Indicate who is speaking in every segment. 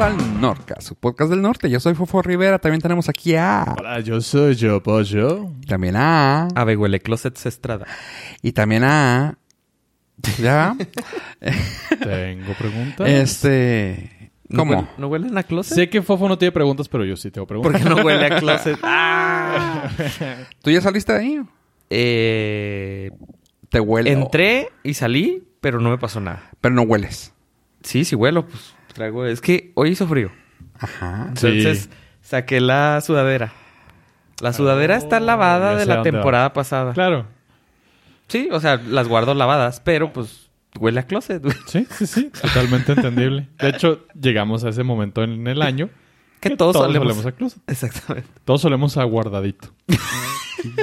Speaker 1: al Norca, su podcast del norte. Yo soy Fofo Rivera, también tenemos aquí a...
Speaker 2: Hola, yo soy yo, pollo.
Speaker 1: También a...
Speaker 3: Ave huele closets Estrada.
Speaker 1: Y también a... ¿Ya?
Speaker 2: Tengo preguntas.
Speaker 1: este...
Speaker 3: ¿No
Speaker 1: ¿Cómo?
Speaker 3: huel- ¿No huelen a closet?
Speaker 2: Eh, Sé que Fofo no tiene preguntas, pero yo sí tengo preguntas.
Speaker 3: Porque no huele a closet. ¡Ah!
Speaker 1: ¿Tú ya saliste de ahí?
Speaker 3: Eh,
Speaker 1: Te huele.
Speaker 3: entré y salí, pero no me pasó nada.
Speaker 1: Pero no hueles.
Speaker 3: Sí, sí huelo, pues traigo. Es que hoy hizo frío.
Speaker 1: Ajá.
Speaker 2: Sí.
Speaker 3: Entonces saqué la sudadera. La sudadera está lavada
Speaker 2: Ah, ya
Speaker 3: de
Speaker 2: sé
Speaker 3: la
Speaker 2: dónde va.
Speaker 3: temporada pasada.
Speaker 2: Claro.
Speaker 3: Sí, o sea, las guardo lavadas, pero pues huele a closet. güey.
Speaker 2: Sí, sí, sí. Totalmente entendible. De hecho, llegamos a ese momento en el año
Speaker 3: Que todos, solemos.
Speaker 2: a closet.
Speaker 3: Exactamente.
Speaker 2: Todos solemos a guardadito.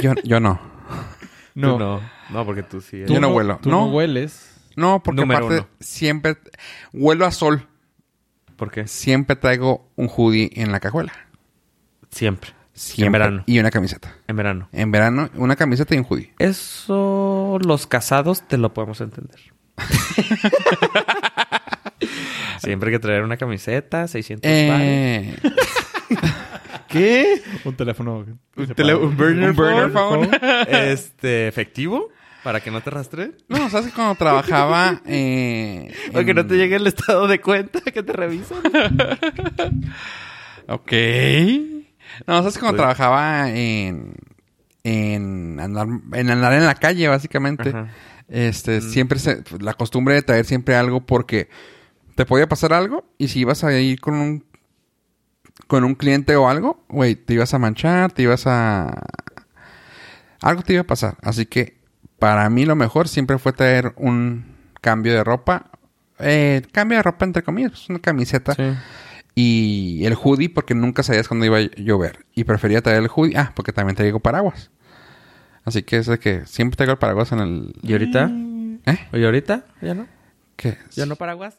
Speaker 1: Yo, yo no.
Speaker 3: No.
Speaker 2: No.
Speaker 3: no, no, porque tú sí.
Speaker 1: Yo no huelo.
Speaker 2: Tú
Speaker 1: No.
Speaker 2: no, hueles.
Speaker 1: No, porque
Speaker 3: Número
Speaker 1: aparte
Speaker 3: uno.
Speaker 1: siempre... Huelo a sol.
Speaker 3: ¿Por qué?
Speaker 1: Siempre traigo un hoodie en la cajuela.
Speaker 3: Siempre.
Speaker 1: Siempre.
Speaker 3: En verano.
Speaker 1: Y una camiseta.
Speaker 3: En verano.
Speaker 1: En verano, una camiseta y un hoodie.
Speaker 3: Eso los casados te lo podemos entender. Siempre hay que traer una camiseta, 600 baros.
Speaker 1: Eh... ¿Qué?
Speaker 2: Un teléfono.
Speaker 3: Un, tele- un burner,
Speaker 1: Un burner
Speaker 3: phone.
Speaker 1: phone.
Speaker 3: Este, efectivo, para que no te rastre.
Speaker 1: No, sabes que cuando trabajaba. Eh,
Speaker 3: O que
Speaker 1: en-
Speaker 3: no te llegue el estado de cuenta que te revisan.
Speaker 1: Ok. No, sabes que cuando
Speaker 3: Sí.
Speaker 1: trabajaba en. En andar, en andar en la calle, básicamente.
Speaker 3: Ajá.
Speaker 1: Este, siempre se- la costumbre de traer siempre algo porque te podía pasar algo y si ibas a ir con un con un cliente o algo, güey, te ibas a manchar, te ibas a algo te iba a pasar. Así que para mí lo mejor siempre fue traer un cambio de ropa, eh, cambio de ropa entre comillas, pues, una camiseta y el hoodie porque nunca sabías cuándo iba a llover y prefería traer el hoodie, ah, porque también traigo paraguas. Así que es de que siempre traigo el paraguas en el
Speaker 3: ¿Y ahorita?
Speaker 1: ¿Eh?
Speaker 3: ¿Y ahorita? ¿Ya no?
Speaker 1: ¿Qué?
Speaker 3: ¿Ya no paraguas?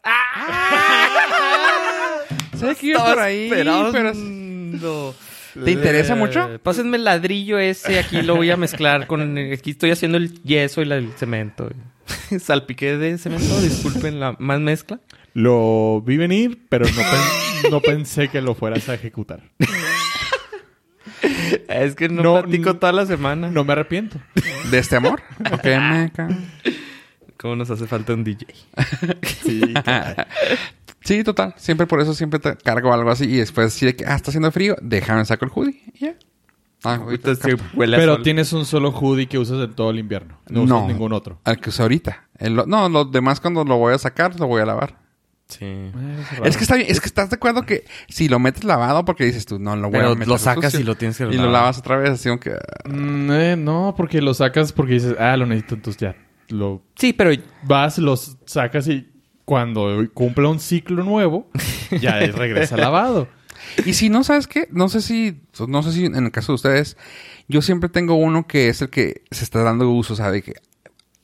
Speaker 1: Sé que iba por ahí, pero...
Speaker 3: esperando.
Speaker 1: ¿Te interesa mucho?
Speaker 3: Eh, Pásenme el ladrillo ese, aquí lo voy a mezclar con... el- Aquí estoy haciendo el yeso y la- el cemento. Salpiqué de cemento, disculpen la más mezcla.
Speaker 2: Lo vi venir, pero no, pen- no pensé que lo fueras a ejecutar.
Speaker 3: Es que no,
Speaker 2: No,
Speaker 3: platico
Speaker 2: n-
Speaker 3: toda la semana.
Speaker 2: No me arrepiento.
Speaker 1: ¿De este amor? Ok, me ca-
Speaker 3: ¿Cómo nos hace falta un DJ?
Speaker 2: Sí.
Speaker 1: Sí, total. Siempre por eso siempre te cargo algo así y después sí de que, ah, está haciendo frío, déjame saco el hoodie y ya. Ah, ahorita
Speaker 3: Entonces,
Speaker 1: saco-
Speaker 3: que huele a
Speaker 2: Pero
Speaker 3: sol.
Speaker 2: tienes un solo hoodie que usas en todo el invierno. No, usas ningún otro.
Speaker 1: Al que uso ahorita. El lo- no, los demás cuando lo voy a sacar, lo voy a lavar.
Speaker 3: Sí.
Speaker 1: Es que está bien, es que estás de acuerdo que si lo metes lavado, porque dices tú, no, lo voy
Speaker 3: Pero
Speaker 1: a meter
Speaker 3: lo sacas
Speaker 1: sucio.
Speaker 3: y lo tienes que
Speaker 1: Y lo
Speaker 3: lavar.
Speaker 1: lavas otra vez, así como que...
Speaker 2: Mm, eh, no, porque lo sacas porque dices, ah, lo necesito, entonces ya. Lo
Speaker 3: Sí, pero
Speaker 2: vas, los sacas y cuando cumpla un ciclo nuevo, ya regresa lavado.
Speaker 1: Y si no, ¿sabes qué? No sé si, no sé si en el caso de ustedes, yo siempre tengo uno que es el que se está dando uso, ¿sabe? Que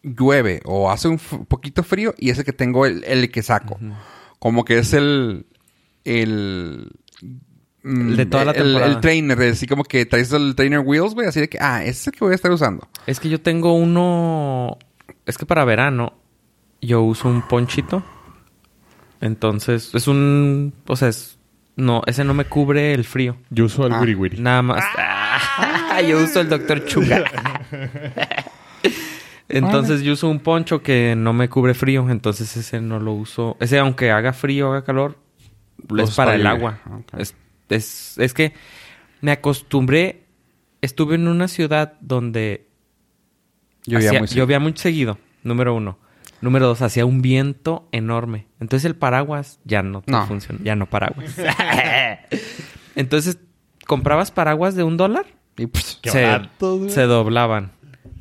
Speaker 1: llueve o hace un f- poquito frío y es el que tengo, el, el que saco. Como que es el... El... mm,
Speaker 3: El de toda la
Speaker 1: el- El,
Speaker 3: temporada.
Speaker 1: trainer, así como que traes el trainer wheels, güey, así de que, ah, ese es el que voy a estar usando.
Speaker 3: es que yo tengo uno... Es que para verano yo uso un ponchito. Entonces, es un... O sea, es... No, ese no me cubre el frío.
Speaker 2: Yo uso el
Speaker 1: Ah.
Speaker 2: wiri wiri.
Speaker 3: Nada más. yo uso el doctor Chuga. entonces yo uso un poncho que no me cubre frío, entonces ese no lo uso. Ese aunque haga frío, haga calor,
Speaker 1: Los
Speaker 3: es para el
Speaker 1: pañales.
Speaker 3: agua.
Speaker 1: Ah, Ok.
Speaker 3: Es, es, es que me acostumbré, estuve en una ciudad donde
Speaker 1: Llovía
Speaker 3: hacía-
Speaker 1: muy seco.
Speaker 3: llovía muy seguido, número uno. Número dos, hacía un viento enorme. Entonces el paraguas ya no, te
Speaker 1: No.
Speaker 3: funciona. Ya no paraguas. Entonces, comprabas paraguas de un dólar,
Speaker 1: Y, pss,
Speaker 2: Qué
Speaker 3: se,
Speaker 2: barato, güey.
Speaker 3: se doblaban.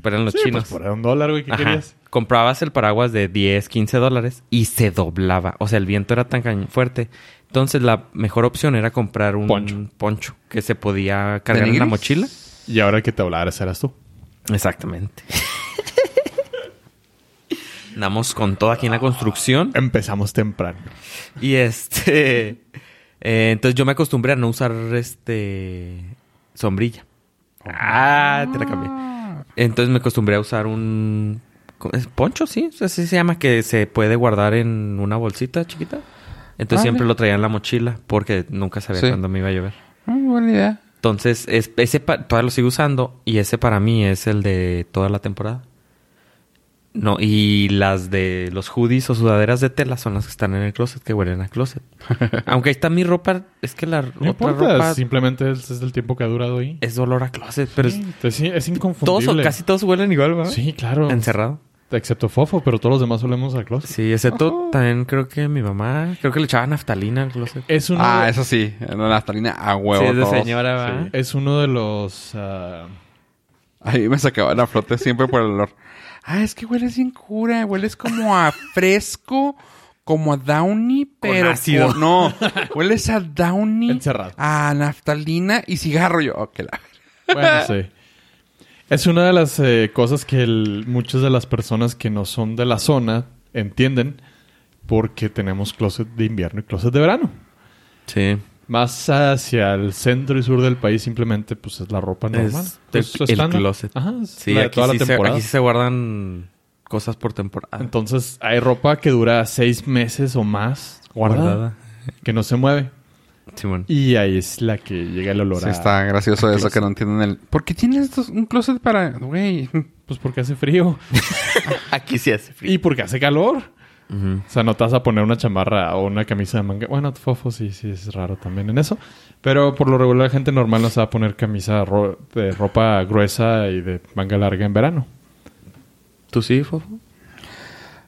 Speaker 3: Pero eran los
Speaker 2: Sí, pues,
Speaker 3: chinos.
Speaker 2: por un dólar, güey, ¿qué
Speaker 3: Ajá.
Speaker 2: querías?
Speaker 3: Comprabas el paraguas de 10, 15 dólares y se doblaba. O sea, el viento era tan cañ- fuerte. Entonces, la mejor opción era comprar un
Speaker 2: Poncho.
Speaker 3: poncho, que se podía cargar en la
Speaker 1: ¿Denigris?
Speaker 3: mochila.
Speaker 2: Y ahora que te hablaras eras tú.
Speaker 3: Exactamente. Andamos con todo aquí en la construcción.
Speaker 2: Empezamos temprano.
Speaker 3: Y este. eh, entonces yo me acostumbré a no usar este. sombrilla. Ah, te la cambié. Entonces me acostumbré a usar un. ¿es poncho, sí. Así se llama, que se puede guardar en una bolsita chiquita. Entonces
Speaker 1: Vale.
Speaker 3: siempre lo traía en la mochila porque nunca sabía
Speaker 1: Sí.
Speaker 3: cuándo me iba a llover.
Speaker 1: Ah, buena idea.
Speaker 3: Entonces, es- ese pa- todavía lo sigo usando y ese para mí es el de toda la temporada. No, y las de los hoodies o sudaderas de tela son las que están en el closet, que huelen a closet. Aunque ahí está mi ropa, es que la
Speaker 2: No
Speaker 3: otra
Speaker 2: importa,
Speaker 3: ropa
Speaker 2: simplemente es, es el tiempo que ha durado ahí.
Speaker 3: es olor a closet, pero es-
Speaker 2: Sí, entonces sí, es
Speaker 3: todos
Speaker 2: inconfundible.
Speaker 3: o casi todos huelen igual, ¿verdad?
Speaker 2: Sí, claro.
Speaker 3: Encerrado.
Speaker 2: Excepto Fofo, pero todos los demás solemos al closet.
Speaker 3: Sí, excepto también creo que mi mamá, creo que le echaba naftalina al closet.
Speaker 2: Es uno,
Speaker 1: Ah,
Speaker 2: de,
Speaker 1: eso sí. La naftalina a huevo.
Speaker 3: Sí, es de
Speaker 1: todos.
Speaker 3: señora, ¿verdad?
Speaker 2: es uno de los... ah,
Speaker 1: Ahí me sacaban a flote siempre por el olor. Ah, es que hueles bien cura. Hueles como a fresco, como a Downy, pero.
Speaker 3: ácido.
Speaker 1: con- no, hueles a Downy.
Speaker 2: Encerrado.
Speaker 1: A naftalina y cigarro. Yo, ok, la.
Speaker 2: Bueno, sí. Es una de las eh, cosas que el- muchas de las personas que no son de la zona entienden porque tenemos closet de invierno y closet de verano.
Speaker 3: Sí.
Speaker 2: Más hacia el centro y sur del país simplemente pues es la ropa normal.
Speaker 3: Es
Speaker 2: Pues,
Speaker 3: el-
Speaker 2: su
Speaker 3: el
Speaker 2: estándar.
Speaker 3: closet.
Speaker 2: Ajá, es
Speaker 3: Sí,
Speaker 2: la de
Speaker 3: aquí,
Speaker 2: toda
Speaker 3: sí
Speaker 2: la
Speaker 3: se,
Speaker 2: temporada.
Speaker 3: aquí sí se guardan cosas por temporada.
Speaker 2: Entonces hay ropa que dura seis meses o más guardada, que no se mueve.
Speaker 3: Simón.
Speaker 2: Y ahí es la que llega el olor
Speaker 1: Sí,
Speaker 2: a-
Speaker 1: está gracioso eso
Speaker 2: closet.
Speaker 1: que no entienden el. ¿Por qué tienes dos- un closet para.? Güey.
Speaker 2: Pues porque hace frío.
Speaker 3: Aquí sí hace
Speaker 2: y porque hace calor.
Speaker 3: Ujú.
Speaker 2: O sea, no te vas a poner una chamarra o una camisa de manga. Bueno, fofo sí, sí es raro también en eso. Pero por lo regular la gente normal no se va a poner camisa ro- de ropa gruesa y de manga larga en verano.
Speaker 3: ¿Tú sí, Fofo?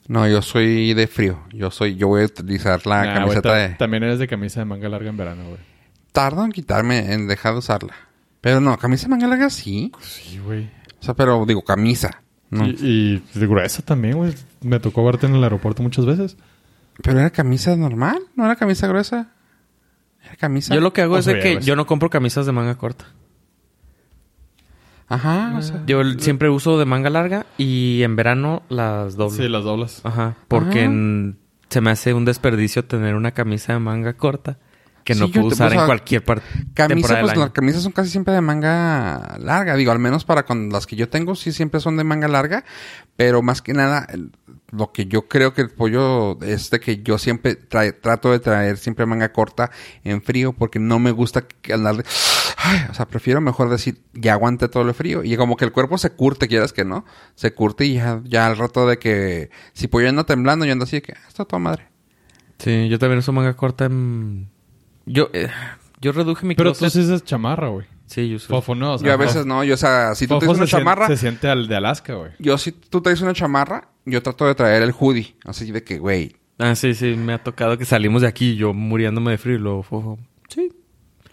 Speaker 1: No, yo soy de frío. Yo soy. Yo voy a utilizar la
Speaker 2: Nah, Ah, güey,
Speaker 1: camiseta
Speaker 2: ta-
Speaker 1: de.
Speaker 2: También eres de camisa de manga larga en verano, güey.
Speaker 1: Tardo en quitarme, en dejar de usarla. Pero no, camisa de manga larga sí.
Speaker 2: Sí, güey.
Speaker 1: O sea, pero digo, camisa. No.
Speaker 2: Y, y de gruesa también, güey. Me tocó verte en el aeropuerto muchas veces.
Speaker 1: Pero era camisa normal, no era camisa gruesa. Era camisa.
Speaker 3: Yo lo que hago
Speaker 2: O
Speaker 3: es
Speaker 2: sea,
Speaker 3: de
Speaker 2: ya
Speaker 3: que
Speaker 2: ves.
Speaker 3: yo no compro camisas de manga corta.
Speaker 1: Ajá, o sea.
Speaker 3: Yo siempre uso de manga larga y en verano las doblo.
Speaker 2: Sí, las doblas.
Speaker 3: Ajá. Porque
Speaker 1: Ah.
Speaker 3: en- se me hace un desperdicio tener una camisa de manga corta que
Speaker 1: Sí,
Speaker 3: no
Speaker 1: yo
Speaker 3: puedo
Speaker 1: te-
Speaker 3: usar
Speaker 1: o
Speaker 3: en
Speaker 1: sea,
Speaker 3: cualquier par-
Speaker 1: Camisa,
Speaker 3: temporada
Speaker 1: pues
Speaker 3: del
Speaker 1: las
Speaker 3: año.
Speaker 1: camisas son casi siempre de manga larga. Digo, al menos para con las que yo tengo, sí siempre son de manga larga. Pero más que nada, el- lo que yo creo que el pollo es de que yo siempre trae- trato de traer siempre manga corta en frío porque no me gusta que- andar de... Ay, o sea, prefiero mejor decir, ya aguante todo el frío. Y como que el cuerpo se curte, quieras que no. Se curte y ya, ya al rato de que... Si pollo anda temblando, yo ando así de que... "Ah, Está toda madre.
Speaker 3: Sí, yo también uso manga corta en... Yo, eh, yo reduje mi
Speaker 2: Pero tú
Speaker 3: closet.
Speaker 2: sí es chamarra, güey.
Speaker 3: Sí, yo uso...
Speaker 2: Fofo no. o sea,
Speaker 1: Yo a veces no, yo o sea, si tú
Speaker 2: Fofo
Speaker 1: tienes
Speaker 2: se
Speaker 1: una
Speaker 2: sien-
Speaker 1: chamarra...
Speaker 2: Se siente al de Alaska, güey.
Speaker 1: Yo si tú traes una chamarra, yo trato de traer el hoodie. Así de que, güey,
Speaker 3: Ah, sí, sí. Me ha tocado que salimos de aquí yo muriéndome de frío y luego Fofo... Sí.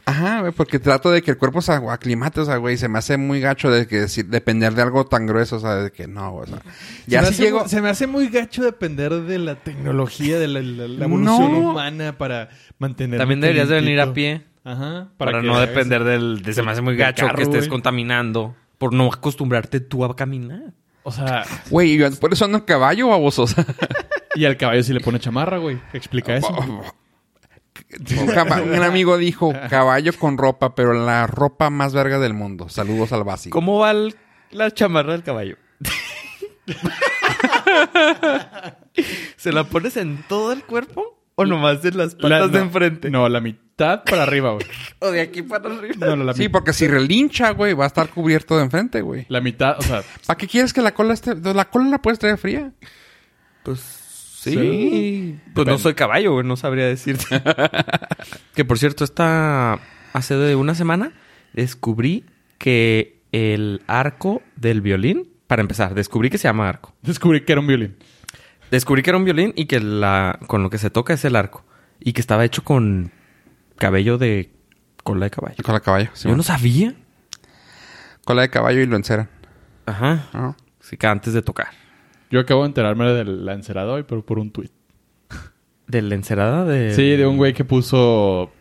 Speaker 1: Ajá, güey, porque trato de que el cuerpo se agu- aclimate, o sea, güey, se me hace muy gacho de que si- depender de algo tan grueso, o sea, de que no, o sea, ya
Speaker 2: se, me
Speaker 1: si
Speaker 2: hace
Speaker 1: llego,
Speaker 2: muy- se me hace muy gacho depender de la tecnología, de la, la- la
Speaker 1: No.
Speaker 2: evolución humana para mantener.
Speaker 3: También deberías de venir a pie.
Speaker 2: Ajá.
Speaker 3: Para,
Speaker 2: que
Speaker 3: no
Speaker 2: hagas-
Speaker 3: depender del... de- se me hace muy
Speaker 2: del
Speaker 3: gacho
Speaker 2: carro,
Speaker 3: que estés
Speaker 2: güey.
Speaker 3: contaminando. Por no acostumbrarte tú a caminar.
Speaker 2: O sea,
Speaker 1: güey, yo por eso ando en caballo, babosos.
Speaker 2: y al caballo si le pone chamarra, güey. Explica eso.
Speaker 1: un, cama- un amigo dijo, caballo con ropa, pero la ropa más verga del mundo. Saludos al básico.
Speaker 3: ¿Cómo va el- la chamarra del caballo? ¿Se la pones en todo el cuerpo o nomás en las patas
Speaker 2: La-
Speaker 3: de
Speaker 2: no,
Speaker 3: enfrente?
Speaker 2: No, la mitad para arriba, güey.
Speaker 3: O de aquí para arriba.
Speaker 2: No, no, la,
Speaker 1: Sí,
Speaker 2: mi-
Speaker 1: porque si relincha, güey, va a estar cubierto de enfrente, güey.
Speaker 2: la mitad, o sea,
Speaker 1: ¿Para qué quieres que la cola esté? La cola la puedes traer fría.
Speaker 3: Pues sí.
Speaker 2: Sí.
Speaker 3: Pues no soy caballo, güey, no sabría decirte. que por cierto, esta hace de una semana descubrí que el arco del violín, para empezar, descubrí que se llama arco.
Speaker 2: descubrí que era un violín.
Speaker 3: Descubrí que era un violín y que la, con lo que se toca es el arco. Y que estaba hecho con cabello de cola de caballo.
Speaker 1: Cola de caballo, sí.
Speaker 3: Yo no sabía.
Speaker 1: Cola de caballo y lo enceran.
Speaker 3: Ajá.
Speaker 1: ¿no?
Speaker 3: Así que antes de tocar.
Speaker 2: Yo acabo de enterarme de la encerada hoy, pero por un tuit.
Speaker 3: De la encerada de...
Speaker 2: Sí, de un güey que puso.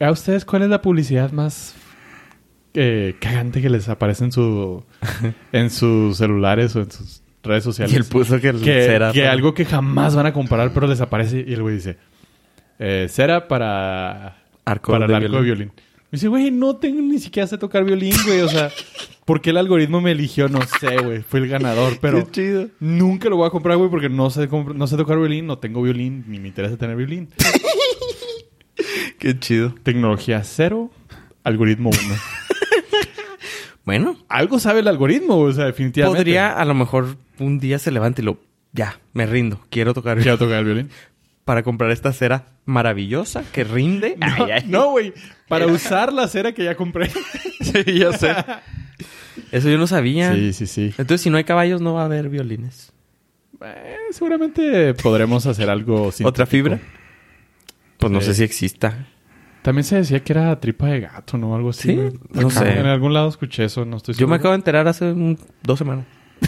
Speaker 2: ¿A ustedes cuál es la publicidad más eh, cagante que les aparece en su en sus celulares o en sus redes sociales?
Speaker 3: Y él puso que el
Speaker 2: que,
Speaker 3: cera
Speaker 2: que
Speaker 3: para-
Speaker 2: algo que jamás van a comprar, pero les aparece y el güey dice: eh, Cera para,
Speaker 3: Arco
Speaker 2: para
Speaker 3: de
Speaker 2: el arco de violín. Me dice, güey, no tengo ni siquiera sé tocar violín, güey. O sea, ¿por qué el algoritmo me eligió? No sé, güey. Fue el ganador, pero.
Speaker 3: Qué chido.
Speaker 2: Nunca lo voy a comprar, güey, porque no sé, comp- no sé tocar violín, no tengo violín, ni me interesa tener violín.
Speaker 3: Qué chido.
Speaker 2: Tecnología cero, algoritmo uno.
Speaker 3: Bueno,
Speaker 2: Algo sabe el algoritmo, o sea, definitivamente.
Speaker 3: podría a lo mejor un día se levante y lo... Ya, me rindo. Quiero tocar
Speaker 2: Quiero tocar el violín.
Speaker 3: para comprar esta cera maravillosa que rinde. Ay, ay.
Speaker 2: No, güey. Para usar la cera que ya compré.
Speaker 1: sí, ya sé.
Speaker 3: Eso yo no sabía.
Speaker 2: Sí, sí, sí.
Speaker 3: Entonces, si no hay caballos, no va a haber violines.
Speaker 2: Eh, seguramente podremos hacer algo sin.
Speaker 3: ¿Otra fibra? Pues no
Speaker 2: Sí.
Speaker 3: sé si exista.
Speaker 2: También se decía que era tripa de gato, ¿no? Algo así.
Speaker 3: Sí,
Speaker 2: güey.
Speaker 3: no
Speaker 2: Acá,
Speaker 3: sé.
Speaker 2: En algún lado escuché eso, no estoy
Speaker 3: Yo me
Speaker 2: seguro.
Speaker 3: acabo de enterar hace un- dos semanas.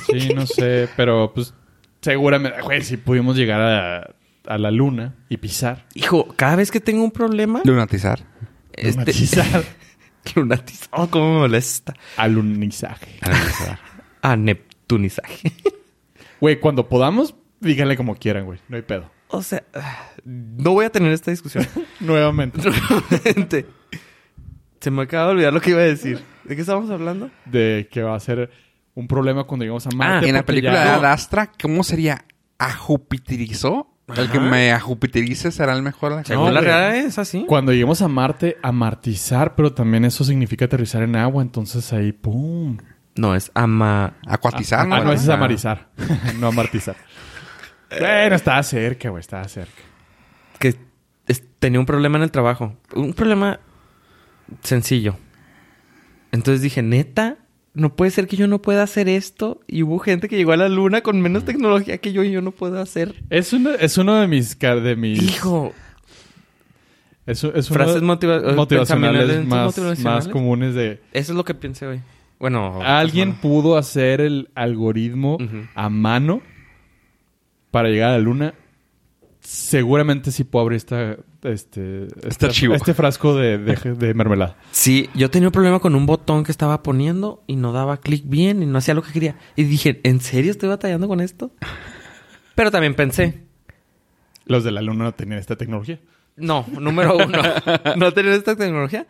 Speaker 2: Sí, no sé, pero pues seguramente, güey, si pudimos llegar a, a la luna y pisar.
Speaker 3: Hijo, cada vez que tengo un problema...
Speaker 1: Lunatizar.
Speaker 3: este-
Speaker 2: Lunatizar.
Speaker 3: Lunatiz- Oh, cómo me molesta.
Speaker 2: Alunizaje.
Speaker 1: Ah,
Speaker 3: Ah, A neptunizaje.
Speaker 2: Güey, cuando podamos, díganle como quieran, güey. No hay pedo.
Speaker 3: o sea, ah, no voy a tener esta discusión.
Speaker 2: Nuevamente.
Speaker 3: Realmente. Se me acaba de olvidar lo que iba a decir. ¿De qué estábamos hablando?
Speaker 2: De que va a ser un problema cuando lleguemos a
Speaker 1: Ah,
Speaker 2: Marte.
Speaker 1: en la
Speaker 2: porque
Speaker 1: película de
Speaker 2: ya-
Speaker 1: Ad Astra, ¿cómo sería? ¿Ajupiterizó? El que
Speaker 3: Ajá.
Speaker 1: me ajupiterice será el mejor. a la-
Speaker 3: Según
Speaker 2: No,
Speaker 3: la
Speaker 2: güey.
Speaker 3: realidad es así.
Speaker 2: Cuando lleguemos a Marte, amartizar, pero también eso significa aterrizar en agua. Entonces ahí, ¡pum!
Speaker 3: No, es ama...
Speaker 1: Acuatizar,
Speaker 2: Ah, no,
Speaker 1: ¿Verdad?
Speaker 2: ese es amarizar. no amartizar. Bueno, estaba cerca, güey. Estaba cerca.
Speaker 3: que es- tenía un problema en el trabajo. Un problema sencillo. Entonces dije, neta, no puede ser que yo no pueda hacer esto. Y hubo gente que llegó a la luna con
Speaker 2: Mm.
Speaker 3: menos tecnología que yo y yo no puedo hacer.
Speaker 2: Es uno, es uno de mis... car- De mis
Speaker 3: Hijo,
Speaker 2: Es, es uno
Speaker 3: frases
Speaker 2: de-
Speaker 3: motiva- eh,
Speaker 2: motivacionales
Speaker 3: pensamientos
Speaker 2: más,
Speaker 3: motivacionales.
Speaker 2: más comunes de...
Speaker 3: Eso es lo que pensé hoy. Bueno,
Speaker 2: Alguien
Speaker 3: pues,
Speaker 2: pudo hacer el algoritmo
Speaker 3: Ujú.
Speaker 2: a mano para llegar a la luna. Seguramente sí puedo abrir esta, este, esta-
Speaker 1: archivo.
Speaker 2: este frasco de, de- de mermelada.
Speaker 3: bueno. Sí, yo tenía un problema con un botón que estaba poniendo y no daba clic bien y no hacía lo que quería. Y dije, ¿en serio estoy batallando con esto? Pero también pensé,
Speaker 2: Los de la luna no tenían esta tecnología.
Speaker 3: No, número uno. no tener esta tecnología.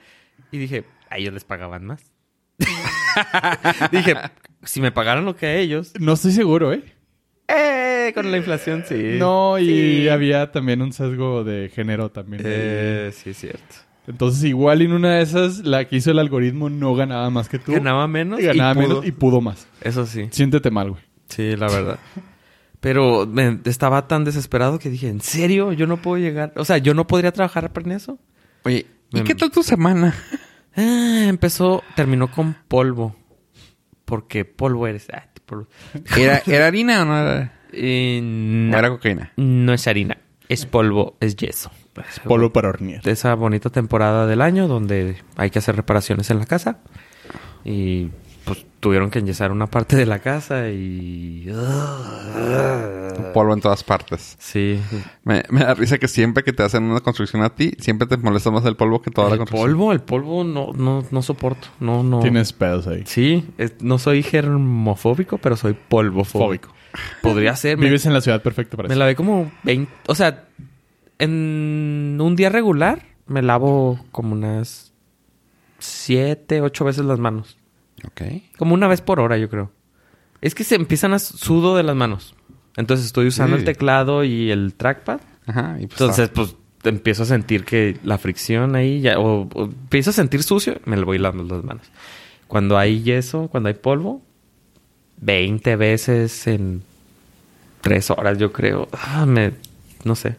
Speaker 3: Y dije, a ellos les pagaban más. dije, si me pagaran lo que a ellos.
Speaker 2: No estoy seguro, ¿eh?
Speaker 3: ¡Eh! Con la inflación, sí.
Speaker 2: No, y
Speaker 3: Sí.
Speaker 2: había también un sesgo de género también.
Speaker 3: Eh, sí, es cierto.
Speaker 2: Entonces, igual en una de esas, la que hizo el algoritmo no ganaba más que tú.
Speaker 3: Ganaba menos. y
Speaker 2: Ganaba
Speaker 3: pudo.
Speaker 2: menos y pudo más.
Speaker 3: Eso sí.
Speaker 2: Siéntete mal, güey.
Speaker 3: Sí, la verdad. Pero me- estaba tan desesperado que dije, ¿en serio? Yo no puedo llegar. O sea, yo no podría trabajar en eso.
Speaker 1: Oye, ¿y
Speaker 3: Mm.
Speaker 1: qué tal tu semana?
Speaker 3: Ah, empezó, terminó con polvo. Porque polvo eres. Ah, polvo.
Speaker 1: ¿Era, era harina o no era?
Speaker 3: Eh,
Speaker 1: o
Speaker 3: no.
Speaker 1: era cocaína?
Speaker 3: No es harina, es polvo, es yeso.
Speaker 2: Polo para hornear.
Speaker 3: De Esa bonita temporada del año donde hay que hacer reparaciones en la casa. Y pues tuvieron que enyesar una parte de la casa y...
Speaker 1: Polvo en todas partes.
Speaker 3: Sí.
Speaker 1: Me, me da risa que siempre que te hacen una construcción a ti, siempre te molesta más el polvo que toda la
Speaker 3: El
Speaker 1: construcción.
Speaker 3: polvo, el polvo no, no, no soporto. No, no.
Speaker 2: Tienes pedos ahí.
Speaker 3: Sí, es- no soy germofóbico, pero soy polvofóbico.
Speaker 2: Fóbico.
Speaker 3: Podría ser. me-
Speaker 2: Vives en la ciudad perfecta para
Speaker 3: Me
Speaker 2: eso.
Speaker 3: lavé como 20. O sea, en un día regular me lavo como unas 7, 8 veces las manos.
Speaker 1: Ok.
Speaker 3: Como una vez por hora, yo creo. Es que se empiezan a sudo de las manos. Entonces estoy usando
Speaker 1: Sí.
Speaker 3: el teclado y el trackpad.
Speaker 1: Ajá. Y pues
Speaker 3: Entonces, pues empiezo a sentir que la fricción ahí ya. O, o empiezo a sentir sucio, me lo voy lavando las manos. Cuando hay yeso, cuando hay polvo, 20 veces en 3 horas, yo creo. Ah, me. No sé.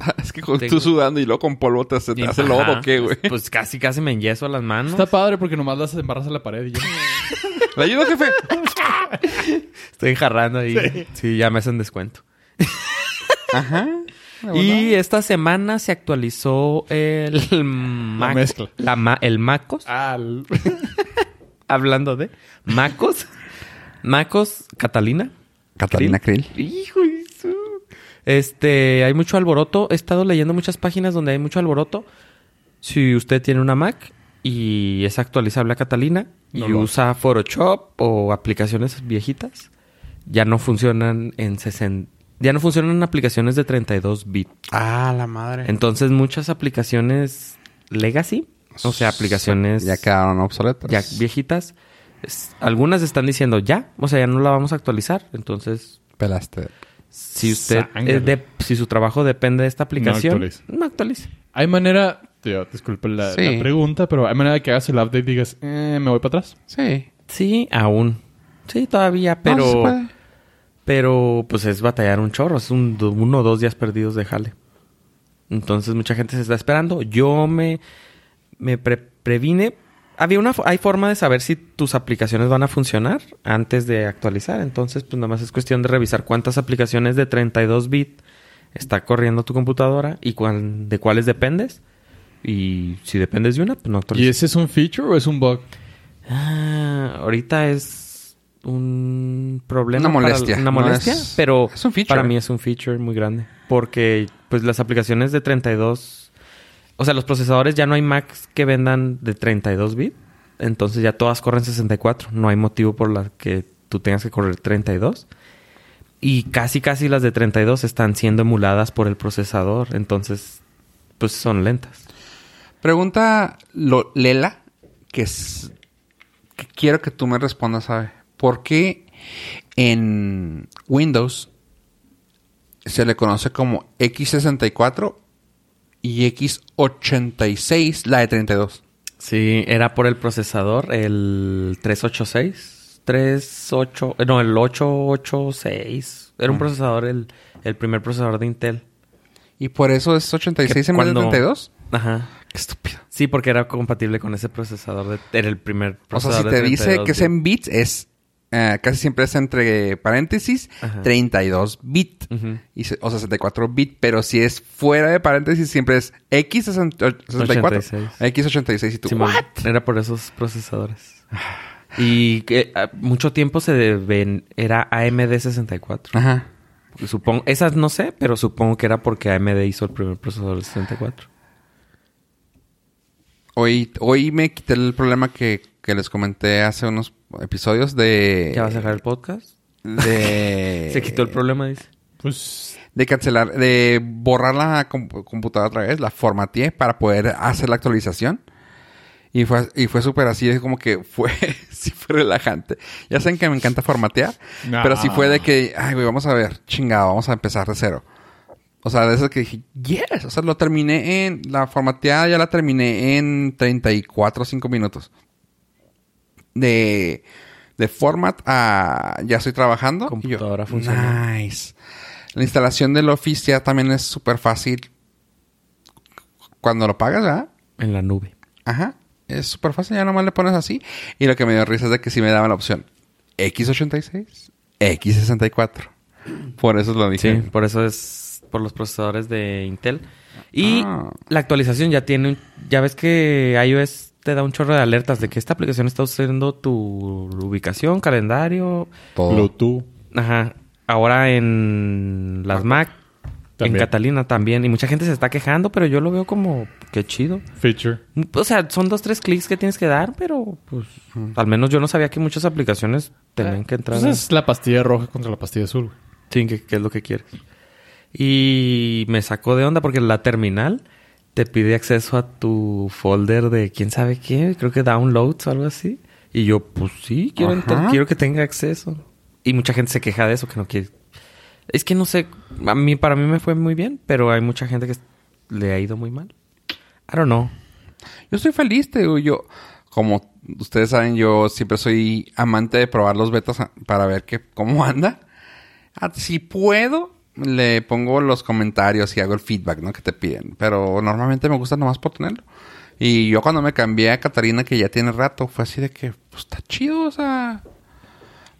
Speaker 1: es que con- tú
Speaker 3: tengo-
Speaker 1: sudando y luego con polvo te hace, te hace lodo
Speaker 3: Ajá.
Speaker 1: o qué, güey.
Speaker 3: Pues casi, casi me enyeso las manos.
Speaker 2: Está padre porque nomás las embarras a la pared y ya.
Speaker 3: pues,
Speaker 1: ¿Le ayudo, jefe?
Speaker 3: Estoy jarrando ahí. Sí. ya me hacen descuento.
Speaker 1: Ajá.
Speaker 3: Y esta semana se actualizó el Mac-
Speaker 2: mezcla.
Speaker 3: la ma- el Macos.
Speaker 1: Ah.
Speaker 2: Al...
Speaker 3: Hablando de Macos. Macos, Catalina.
Speaker 1: Catalina Krill.
Speaker 3: Hijo de su- Este, hay mucho alboroto. He estado leyendo muchas páginas donde hay mucho alboroto. Si usted tiene una Mac y es actualizable a Catalina
Speaker 2: No
Speaker 3: y
Speaker 2: lo
Speaker 3: usa Photoshop o aplicaciones viejitas, ya no funcionan en 60. Ya no funcionan en aplicaciones de 32 bits.
Speaker 1: Ah, la madre.
Speaker 3: Entonces, muchas aplicaciones legacy, o sea, aplicaciones
Speaker 1: Ya quedaron obsoletas.
Speaker 3: ya viejitas, es- algunas están diciendo ya, o sea, ya no la vamos a actualizar. Entonces,
Speaker 1: Pelaste.
Speaker 3: si usted
Speaker 2: Zángano.
Speaker 3: es de- si su trabajo depende de esta aplicación,
Speaker 2: actualice.
Speaker 3: no actualice.
Speaker 2: Hay manera... Tío, disculpe la,
Speaker 1: Sí.
Speaker 2: la pregunta, pero hay manera de que hagas el update y digas, eh, me voy para atrás.
Speaker 1: Sí.
Speaker 3: Sí, aún. Sí, todavía,
Speaker 1: No, sí se
Speaker 3: pero...
Speaker 1: puede.
Speaker 3: pero pues es batallar un chorro. Es un, do- uno o dos días perdidos de jale. Entonces mucha gente se está esperando. Yo me, me pre- previne. Había una, fo- hay forma de saber si tus aplicaciones van a funcionar antes de actualizar. Entonces, pues nada más es cuestión de revisar cuántas aplicaciones de 32 bit está corriendo tu computadora y cuán- de cuáles dependes. Y si dependes de una, pues
Speaker 2: ¿Y
Speaker 3: no actualizas.
Speaker 2: ese es un feature o es un bug?
Speaker 3: Ah, ahorita es un problema.
Speaker 1: Una
Speaker 3: para-
Speaker 1: molestia,
Speaker 3: una
Speaker 1: no
Speaker 3: molestia,
Speaker 1: es-
Speaker 3: pero
Speaker 1: es un feature.
Speaker 3: para mí es un feature muy grande. Porque pues las aplicaciones de 32... O sea, los procesadores ya no hay Macs que vendan de 32 bit. Entonces ya todas corren 64. No hay motivo por la que tú tengas que correr 32. Y casi casi las de 32 están siendo emuladas por el procesador. Entonces, pues son lentas.
Speaker 1: Pregunta Lo- Lela, que es. que quiero que tú me respondas, ¿sabe? ¿Por qué en Windows se le conoce como X64 y X86, la de 32?
Speaker 3: Sí, era por el procesador, el 386. 38, eh, no, el 886. Era
Speaker 1: Mm.
Speaker 3: un procesador, el, el primer procesador de Intel.
Speaker 1: ¿Y por eso es 86
Speaker 3: Que
Speaker 1: en vez de
Speaker 3: cuando-
Speaker 1: 32?
Speaker 3: Ajá.
Speaker 1: Qué estúpido.
Speaker 3: Sí, porque era compatible con ese procesador. De, era el primer
Speaker 1: O sea,
Speaker 3: procesador.
Speaker 1: si te
Speaker 3: de
Speaker 1: dice
Speaker 3: 32
Speaker 1: que es en bits, es. eh, casi siempre es entre paréntesis
Speaker 3: Ajá.
Speaker 1: 32 bit.
Speaker 3: Ujú.
Speaker 1: Y se- o sea, 64 bit, pero si es fuera de paréntesis, siempre es X64.
Speaker 3: 86.
Speaker 1: X86 y tú.
Speaker 3: Simón,
Speaker 1: ¿What?
Speaker 3: Era por esos procesadores. Y que, ah, mucho tiempo se deben, era AMD 64.
Speaker 1: Ajá.
Speaker 3: Supongo, esas no sé, pero supongo que era porque AMD hizo el primer procesador de 64.
Speaker 1: Hoy, hoy me quité el problema que, que les comenté hace unos episodios de.
Speaker 3: ¿Ya vas a dejar el podcast? Eh,
Speaker 1: De.
Speaker 3: Se quitó el problema, dice.
Speaker 2: Pues
Speaker 1: De cancelar, de borrar la comp- computadora otra vez, la formateé para poder hacer la actualización. Y fue, y fue súper así, es como que fue, sí fue relajante. Ya saben que me encanta formatear,
Speaker 2: No.
Speaker 1: pero sí fue de que, ay, güey, vamos a ver, chingado, vamos a empezar de cero. O sea, de eso que dije, yes, o sea, lo terminé en, la formateada ya la terminé en 34 o 5 minutos. De, de format a, ya estoy trabajando. y yo,
Speaker 3: Computadora funcionando.
Speaker 1: Nice. La instalación del Office ya también es súper fácil. Cuando lo pagas, ¿verdad?
Speaker 3: En la nube.
Speaker 1: Ajá. Es súper fácil, ya nomás le pones así. Y lo que me dio risa es de que sí me daban la opción X86, X64. Por eso lo
Speaker 3: Sí,
Speaker 1: dije.
Speaker 3: por eso es por los procesadores de Intel. Y
Speaker 1: Ah.
Speaker 3: la actualización ya tiene... un- Ya ves que iOS te da un chorro de alertas de que esta aplicación está usando tu ubicación, calendario.
Speaker 1: Todo.
Speaker 2: Bluetooth.
Speaker 3: Ajá. Ahora en las Mac,
Speaker 2: También.
Speaker 3: en Catalina también. Y mucha gente se está quejando, pero yo lo veo como... Qué chido.
Speaker 2: Feature.
Speaker 3: O sea, son dos, tres clics que tienes que dar, pero pues... Al menos yo no sabía que muchas aplicaciones tenían que entrar. a-
Speaker 2: Entonces Pues es la pastilla roja contra la pastilla azul. güey.
Speaker 3: Sí, que, que es lo que quieres. Y me sacó de onda porque la terminal te pide acceso a tu folder de quién sabe qué, creo que downloads o algo así. Y yo, pues sí, quiero, entrar,
Speaker 1: Ajá.
Speaker 3: quiero que tenga acceso. Y mucha gente se queja de eso, que no quiere. Es que no sé, a mí, para mí me fue muy bien, pero hay mucha gente que es- le ha ido muy mal. I don't know.
Speaker 1: Yo estoy feliz, te digo, yo... Como ustedes saben, yo siempre soy amante de probar los betas a- para ver qué cómo anda. Ah, Si puedo, le pongo los comentarios y hago el feedback, ¿no? Que te piden. Pero normalmente me gusta nomás por tenerlo. Y yo cuando me cambié a Catarina, que ya tiene rato, fue así de que, pues está chido, o sea...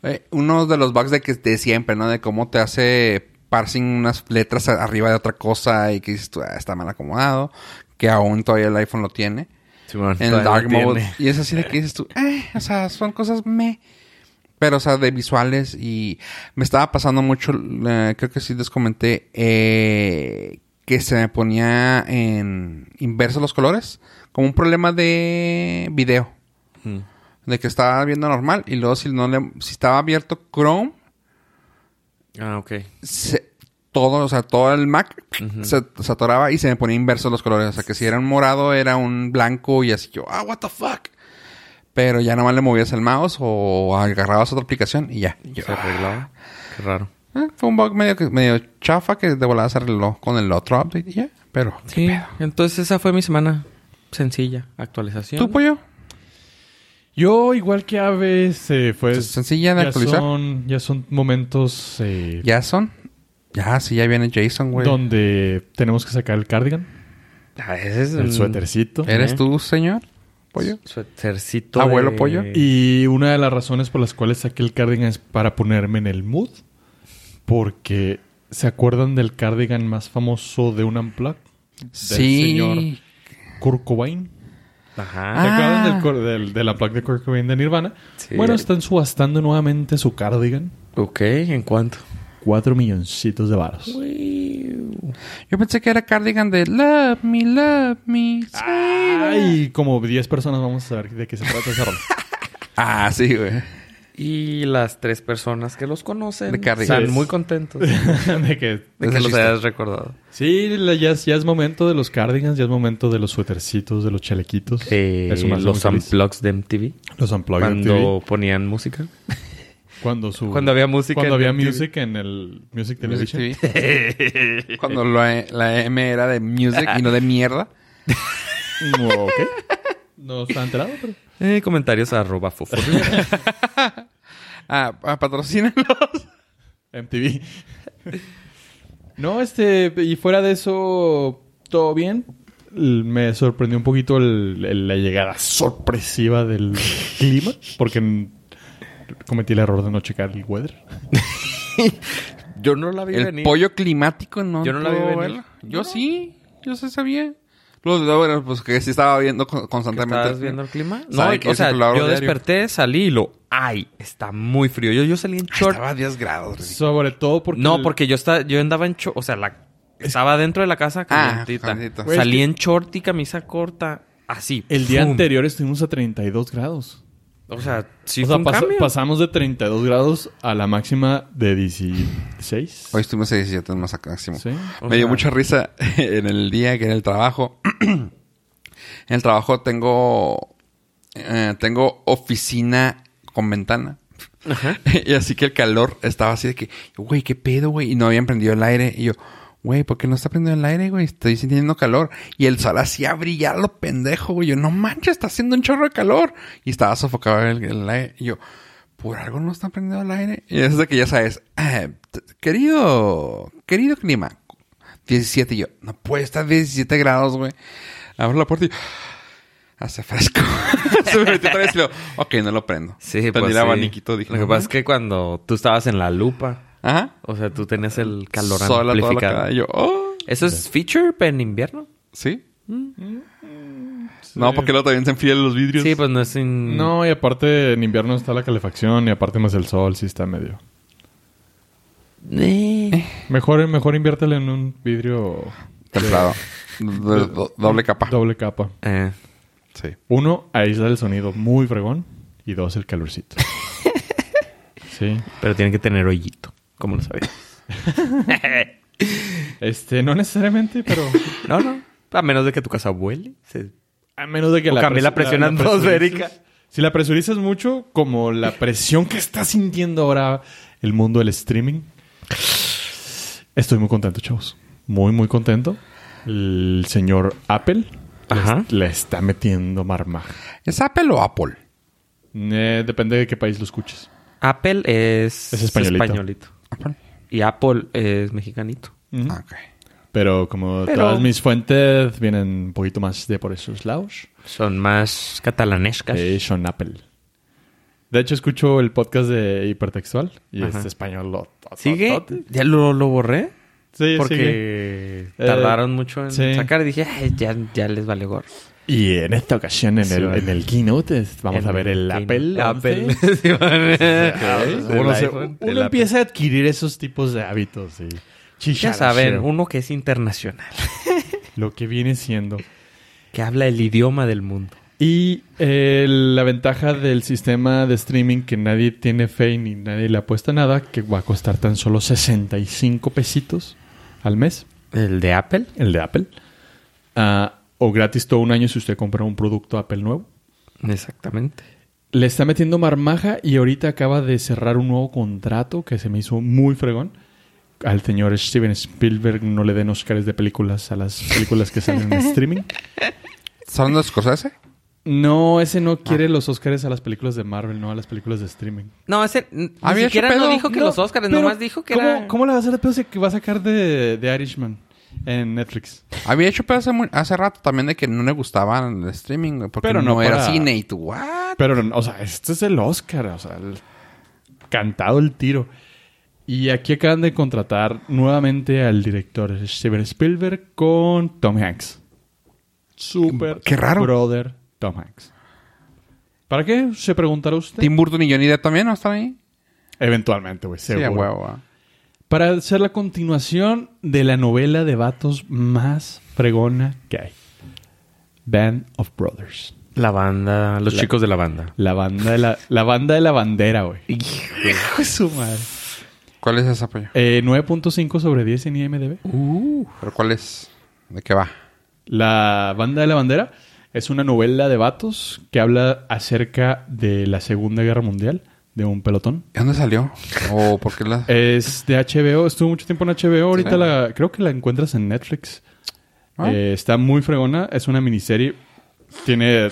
Speaker 1: eh, uno de los bugs de que de siempre, ¿no? De cómo te hace parsing unas letras a- arriba de otra cosa y que dices tú, "Ah, está mal acomodado. Que aún todavía el iPhone lo tiene. En el dark mode. Y es así de que dices tú, eh, o sea, son cosas me. Pero, o sea, de visuales y me estaba pasando mucho, eh, creo que sí les comenté, eh, que se me ponía en inverso los colores, como un problema de video,
Speaker 3: Mm.
Speaker 1: de que estaba viendo normal y luego si no le, si estaba abierto Chrome,
Speaker 3: Ah, ok.
Speaker 1: se- todo, o sea, todo el Mac se, se atoraba y se me ponía inverso los colores. O sea, que si era un morado, era un blanco y así yo, ah, what the fuck. Pero ya nomás le movías el mouse o agarrabas otra aplicación y ya. Yo,
Speaker 3: Se arreglaba. Qué raro.
Speaker 1: "Ah, fue un bug medio, que- medio chafa que de volada se arregló con el otro update y ya. Pero, ¿qué
Speaker 3: Sí,
Speaker 1: pedo?
Speaker 3: entonces esa fue mi semana. sencilla actualización.
Speaker 1: ¿Tú, pollo?
Speaker 2: Yo, igual que Aves, eh, pues...
Speaker 1: Sencilla de
Speaker 2: ya
Speaker 1: actualizar.
Speaker 2: Son, ya son momentos eh,
Speaker 1: ¿Ya son? Ya, sí, ya viene Jason, güey.
Speaker 2: donde tenemos que sacar el cardigan,
Speaker 3: Ah, ese es
Speaker 2: el
Speaker 3: un
Speaker 2: suétercito.
Speaker 1: ¿Eres
Speaker 3: Ajá.
Speaker 1: tú, señor? Pollo.
Speaker 3: Suétercito.
Speaker 1: Abuelo
Speaker 3: de-
Speaker 1: pollo.
Speaker 2: Y una de las razones por las cuales saqué el cardigan es para ponerme en el mood. Porque se acuerdan del cardigan más famoso de un Unplugged,
Speaker 1: Sí.
Speaker 2: señor. Kurt Cobain. ¿Se
Speaker 3: Ajá.
Speaker 1: Ah.
Speaker 2: acuerdan del, cor- del, del Unplugged de Kurt Cobain de Nirvana?
Speaker 3: Sí.
Speaker 2: Bueno, están subastando nuevamente su cardigan.
Speaker 3: Ok, ¿en cuánto?
Speaker 2: Cuatro milloncitos de varos.
Speaker 1: Yo pensé que era Cardigan de Love Me, Love Me.
Speaker 2: Ah. Ay, como 10 personas vamos a saber de qué se trata esa rola.
Speaker 1: Ah, sí, güey.
Speaker 3: Y las tres personas que los conocen
Speaker 1: De Cardigan.
Speaker 2: Sí.
Speaker 3: están muy contentos de
Speaker 2: de que,
Speaker 1: Es
Speaker 3: que
Speaker 1: el
Speaker 3: los
Speaker 1: chiste.
Speaker 3: hayas recordado.
Speaker 2: sí, la- ya, es- ya es momento de los cardigans, ya es momento de los suétercitos, de los chalequitos.
Speaker 3: De
Speaker 2: Eso me hace
Speaker 3: los
Speaker 2: muy feliz.
Speaker 3: unplugs de MTV.
Speaker 2: Los Unplugged
Speaker 3: Cuando
Speaker 2: MTV.
Speaker 3: ponían música.
Speaker 2: Cuando, su,
Speaker 3: Cuando había música
Speaker 2: Uh, Cuando
Speaker 3: en
Speaker 2: había
Speaker 3: MTV.
Speaker 2: music en el Music Television.
Speaker 1: Sí. Cuando la, la M era de music y no de mierda.
Speaker 2: No, ok. No está enterado, pero...
Speaker 3: Eh, comentarios arroba fofo.
Speaker 1: Ah, ah, patrocínalo.
Speaker 2: MTV. No, este... Y fuera de eso, ¿todo bien? L- Me sorprendió un poquito el- el- la llegada sorpresiva del clima. Porque n- cometí el error de no checar el weather.
Speaker 3: Yo no la vi
Speaker 1: El
Speaker 3: venir.
Speaker 1: pollo climático no.
Speaker 3: Yo no la vi
Speaker 1: puedo
Speaker 3: venir.
Speaker 1: verlo. Yo
Speaker 3: No.
Speaker 1: sí, yo sí sabía. Los de bueno, pues que sí estaba viendo con-
Speaker 3: ¿Que
Speaker 1: constantemente.
Speaker 3: ¿Estabas viendo el clima? No,
Speaker 1: Sabe que
Speaker 3: o
Speaker 1: es
Speaker 3: sea,
Speaker 1: el calor
Speaker 3: yo
Speaker 1: diario.
Speaker 3: desperté, salí y lo... ¡Ay! Está muy frío. Yo, yo salí en
Speaker 1: Ay,
Speaker 3: short.
Speaker 1: Estaba a 10 grados.
Speaker 3: Pues
Speaker 1: güey.
Speaker 2: Sobre todo porque...
Speaker 3: No,
Speaker 2: el-
Speaker 3: porque yo estaba, yo andaba en short, o sea, la, estaba dentro de la casa
Speaker 1: Ah,
Speaker 3: calientita.
Speaker 1: calientita.
Speaker 2: Güey,
Speaker 3: Salí
Speaker 2: es que-
Speaker 3: en short y camisa corta, así.
Speaker 2: El día
Speaker 3: ¡Fum!
Speaker 2: anterior estuvimos a 32 grados.
Speaker 3: O sea, sí
Speaker 2: o
Speaker 3: fue
Speaker 2: sea,
Speaker 3: un
Speaker 2: pasa-
Speaker 3: cambio.
Speaker 2: pasamos de 32 grados a la máxima de 16.
Speaker 1: Hoy estuvimos a 17 más acá, máximo.
Speaker 2: Sí.
Speaker 3: O
Speaker 1: Me dio
Speaker 3: sea-
Speaker 1: mucha risa en el día que en el trabajo. en el trabajo tengo. eh, tengo oficina con ventana.
Speaker 3: Ajá.
Speaker 1: y así que el calor estaba así de que, güey, qué pedo, güey. Y no habían prendido el aire. Y yo, güey, ¿por qué no está prendido el aire, güey? Estoy sintiendo calor. Y el sol hacía brillar lo pendejo, güey. Yo, no manches, está haciendo un chorro de calor. Y estaba sofocado el, el aire. Y yo, por algo no está prendido el aire. Y es de que ya sabes, "Ah, t- querido, querido clima, 17. Y yo, no puede estar 17 grados, güey. Abro la puerta y. Hace fresco. Se me metió otra vez y lo, ok, no lo prendo.
Speaker 3: Sí,
Speaker 1: Prendí
Speaker 3: pues
Speaker 1: el
Speaker 3: sí.
Speaker 1: abaniquito, dije.
Speaker 3: Lo que
Speaker 1: "No
Speaker 3: pasa es que cuando tú estabas en la lupa,
Speaker 1: Ajá.
Speaker 3: o sea, tú tenías el calor
Speaker 1: Sola toda la
Speaker 3: amplificado.
Speaker 1: cara. Yo, oh,
Speaker 3: ¿Eso es feature en invierno?
Speaker 1: ¿sí? No, porque luego también se enfrían los vidrios.
Speaker 3: Sí, pues no es en...
Speaker 2: No, y aparte en invierno está la calefacción y aparte más el sol, sí está medio.
Speaker 3: Eh.
Speaker 2: Mejor, mejor inviértele en un vidrio
Speaker 1: Templado. Do- do- doble capa.
Speaker 2: doble capa.
Speaker 3: Eh.
Speaker 1: Sí.
Speaker 2: Uno, aísla el sonido muy fregón y dos, el calorcito. Sí.
Speaker 3: Pero tiene que tener hoyito, como lo sabía.
Speaker 2: Este, no necesariamente, pero
Speaker 3: no, no. A menos de que tu casa vuele. se-
Speaker 2: a menos de que
Speaker 3: O cambie la presión
Speaker 2: presurices.
Speaker 3: atmosférica.
Speaker 2: Si la presurizas mucho, como la presión que está sintiendo ahora el mundo del streaming. Estoy muy contento, chavos. Muy, muy contento. El señor Apple le
Speaker 3: Ajá.
Speaker 2: est- le está metiendo marmaja.
Speaker 1: ¿Es Apple o Apple?
Speaker 2: Eh, depende de qué país lo escuches.
Speaker 3: Apple es...
Speaker 2: Es españolito.
Speaker 1: Apple.
Speaker 3: Y Apple es mexicanito.
Speaker 2: Ujú.
Speaker 1: Ah, ok.
Speaker 2: Pero como
Speaker 3: Pero-
Speaker 2: todas mis fuentes vienen un poquito más de por esos lados,
Speaker 3: Son más catalanescas.
Speaker 2: eh, son Apple. De hecho, escucho el podcast de Hipertextual y
Speaker 3: Ajá.
Speaker 2: es español. lo- to-
Speaker 3: ¿Sigue?
Speaker 2: tote.
Speaker 3: Ya lo, lo borré.
Speaker 2: Sí, sigue.
Speaker 3: Porque
Speaker 2: Eh,
Speaker 3: tardaron mucho en
Speaker 2: sí.
Speaker 3: sacar. Y dije, "Ay, ya, ya les vale gorro.
Speaker 2: Y en esta ocasión, en,
Speaker 3: Sí,
Speaker 2: el,
Speaker 3: vale.
Speaker 2: en el keynote, es- vamos
Speaker 3: En
Speaker 2: a ver el
Speaker 3: fin,
Speaker 2: Apple.
Speaker 3: Apple.
Speaker 2: 11.
Speaker 3: Sí, vale.
Speaker 2: Ah,
Speaker 3: El
Speaker 2: uno se-
Speaker 3: iPhone, el
Speaker 2: uno empieza a adquirir esos tipos de hábitos. Y
Speaker 3: Ya
Speaker 2: chicharas,
Speaker 3: saben,
Speaker 2: pero
Speaker 3: uno que es internacional.
Speaker 2: lo que viene siendo.
Speaker 3: Que habla el idioma del mundo.
Speaker 2: Y eh, la ventaja del sistema de streaming que nadie tiene fe y ni nadie le apuesta nada, que va a costar tan solo 65 pesitos al mes,
Speaker 3: ¿El de Apple?
Speaker 2: el de Apple. Ah, o gratis todo un año si usted compra un producto Apple nuevo.
Speaker 3: Exactamente.
Speaker 2: Le está metiendo marmaja y ahorita acaba de cerrar un nuevo contrato que se me hizo muy fregón. Al señor Steven Spielberg no le den Oscars de películas a las películas que salen en streaming.
Speaker 1: ¿Estás hablando de Scorsese?
Speaker 2: No, ese no quiere los Oscars a las películas de Marvel, no a las películas de streaming.
Speaker 3: No, ese n- ni
Speaker 1: Había hecho
Speaker 3: siquiera no
Speaker 1: pedo.
Speaker 3: dijo que los Oscars,
Speaker 2: pero
Speaker 3: nomás dijo que
Speaker 2: ¿cómo,
Speaker 3: era...
Speaker 2: ¿Cómo le va a hacer de pedo si que va a sacar de, de Irishman en Netflix?
Speaker 1: Había hecho pedo hace, mu- hace rato también de que no le gustaba el streaming, güey, porque
Speaker 2: Pero no
Speaker 1: no, era
Speaker 2: para-
Speaker 1: cine y tú, ¿what?
Speaker 2: Pero, o sea, este es el Oscar, o sea, el- cantado el tiro. Y aquí acaban de contratar nuevamente al director Steven Spielberg con Tom Hanks. Super
Speaker 1: Qué raro.
Speaker 2: brother Tom Hanks. ¿Para qué? Se preguntará usted.
Speaker 1: Tim Burton y Johnny Depp también no están ahí.
Speaker 2: Eventualmente, güey,
Speaker 1: Sí, a
Speaker 2: seguro.
Speaker 1: huevo. ah.
Speaker 2: Para hacer la continuación de la novela de vatos más fregona que hay. Band of Brothers.
Speaker 3: La banda, los chicos de la banda.
Speaker 2: La banda de la, la banda de la bandera, güey. Hijo de su madre.
Speaker 1: ¿Cuál es esa, pollo?
Speaker 2: Eh, 9.5 sobre 10 en IMDb.
Speaker 1: ¿Pero cuál es? ¿De qué va?
Speaker 2: La banda de la bandera es una novela de vatos que habla acerca de la Segunda Guerra Mundial de un pelotón.
Speaker 1: ¿De dónde salió? ¿O por qué la...?
Speaker 3: Eh,
Speaker 2: Es de HBO, estuvo mucho tiempo en HBO, ahorita
Speaker 1: Sí.
Speaker 2: la, creo que la encuentras en Netflix.
Speaker 1: Ah.
Speaker 2: Eh, está muy fregona, es una miniserie, tiene,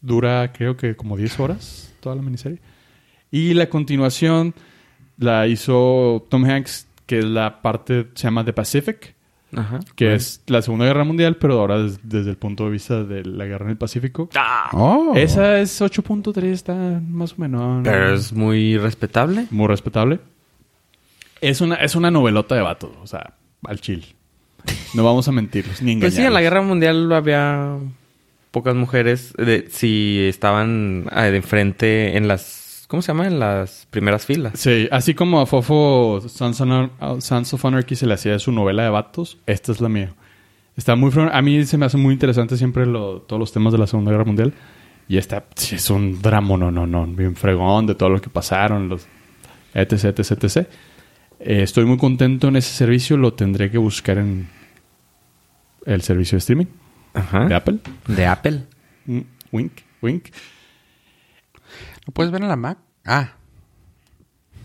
Speaker 2: dura creo que como 10 horas toda la miniserie. Y la continuación la hizo Tom Hanks, que es la parte, se llama The Pacific,
Speaker 3: Ajá.
Speaker 2: que es la Segunda Guerra Mundial, pero ahora des- desde el punto de vista de la guerra en el Pacífico.
Speaker 3: Ah.
Speaker 1: Oh.
Speaker 2: Esa es 8.3, está más o menos.
Speaker 3: Pero es muy respetable.
Speaker 2: Muy respetable. Es una, es una novelota de vatos, o sea, al chill. No vamos a mentirlos, ni
Speaker 3: Pues
Speaker 2: engañarlos.
Speaker 3: sí, en la guerra mundial había pocas mujeres. de- si estaban ah, de frente en las... ¿Cómo se llama? En las primeras filas.
Speaker 2: Sí, así como a Fofo Sons of Anar- Sons of Anarchy se le hacía de su novela de vatos, esta es la mía. Está muy... fron- A mí se me hace muy interesante siempre lo- todos los temas de la Segunda Guerra Mundial. Y esta sí, es un drama, no, no, no, bien fregón de todo lo que pasaron, los etc, etc, etc. Eh, estoy muy contento en ese servicio, lo tendré que buscar en el servicio de streaming
Speaker 3: Ajá.
Speaker 2: de Apple.
Speaker 3: De Apple.
Speaker 2: Mm, Wink, wink.
Speaker 1: ¿Lo puedes ver en la Mac? Ah.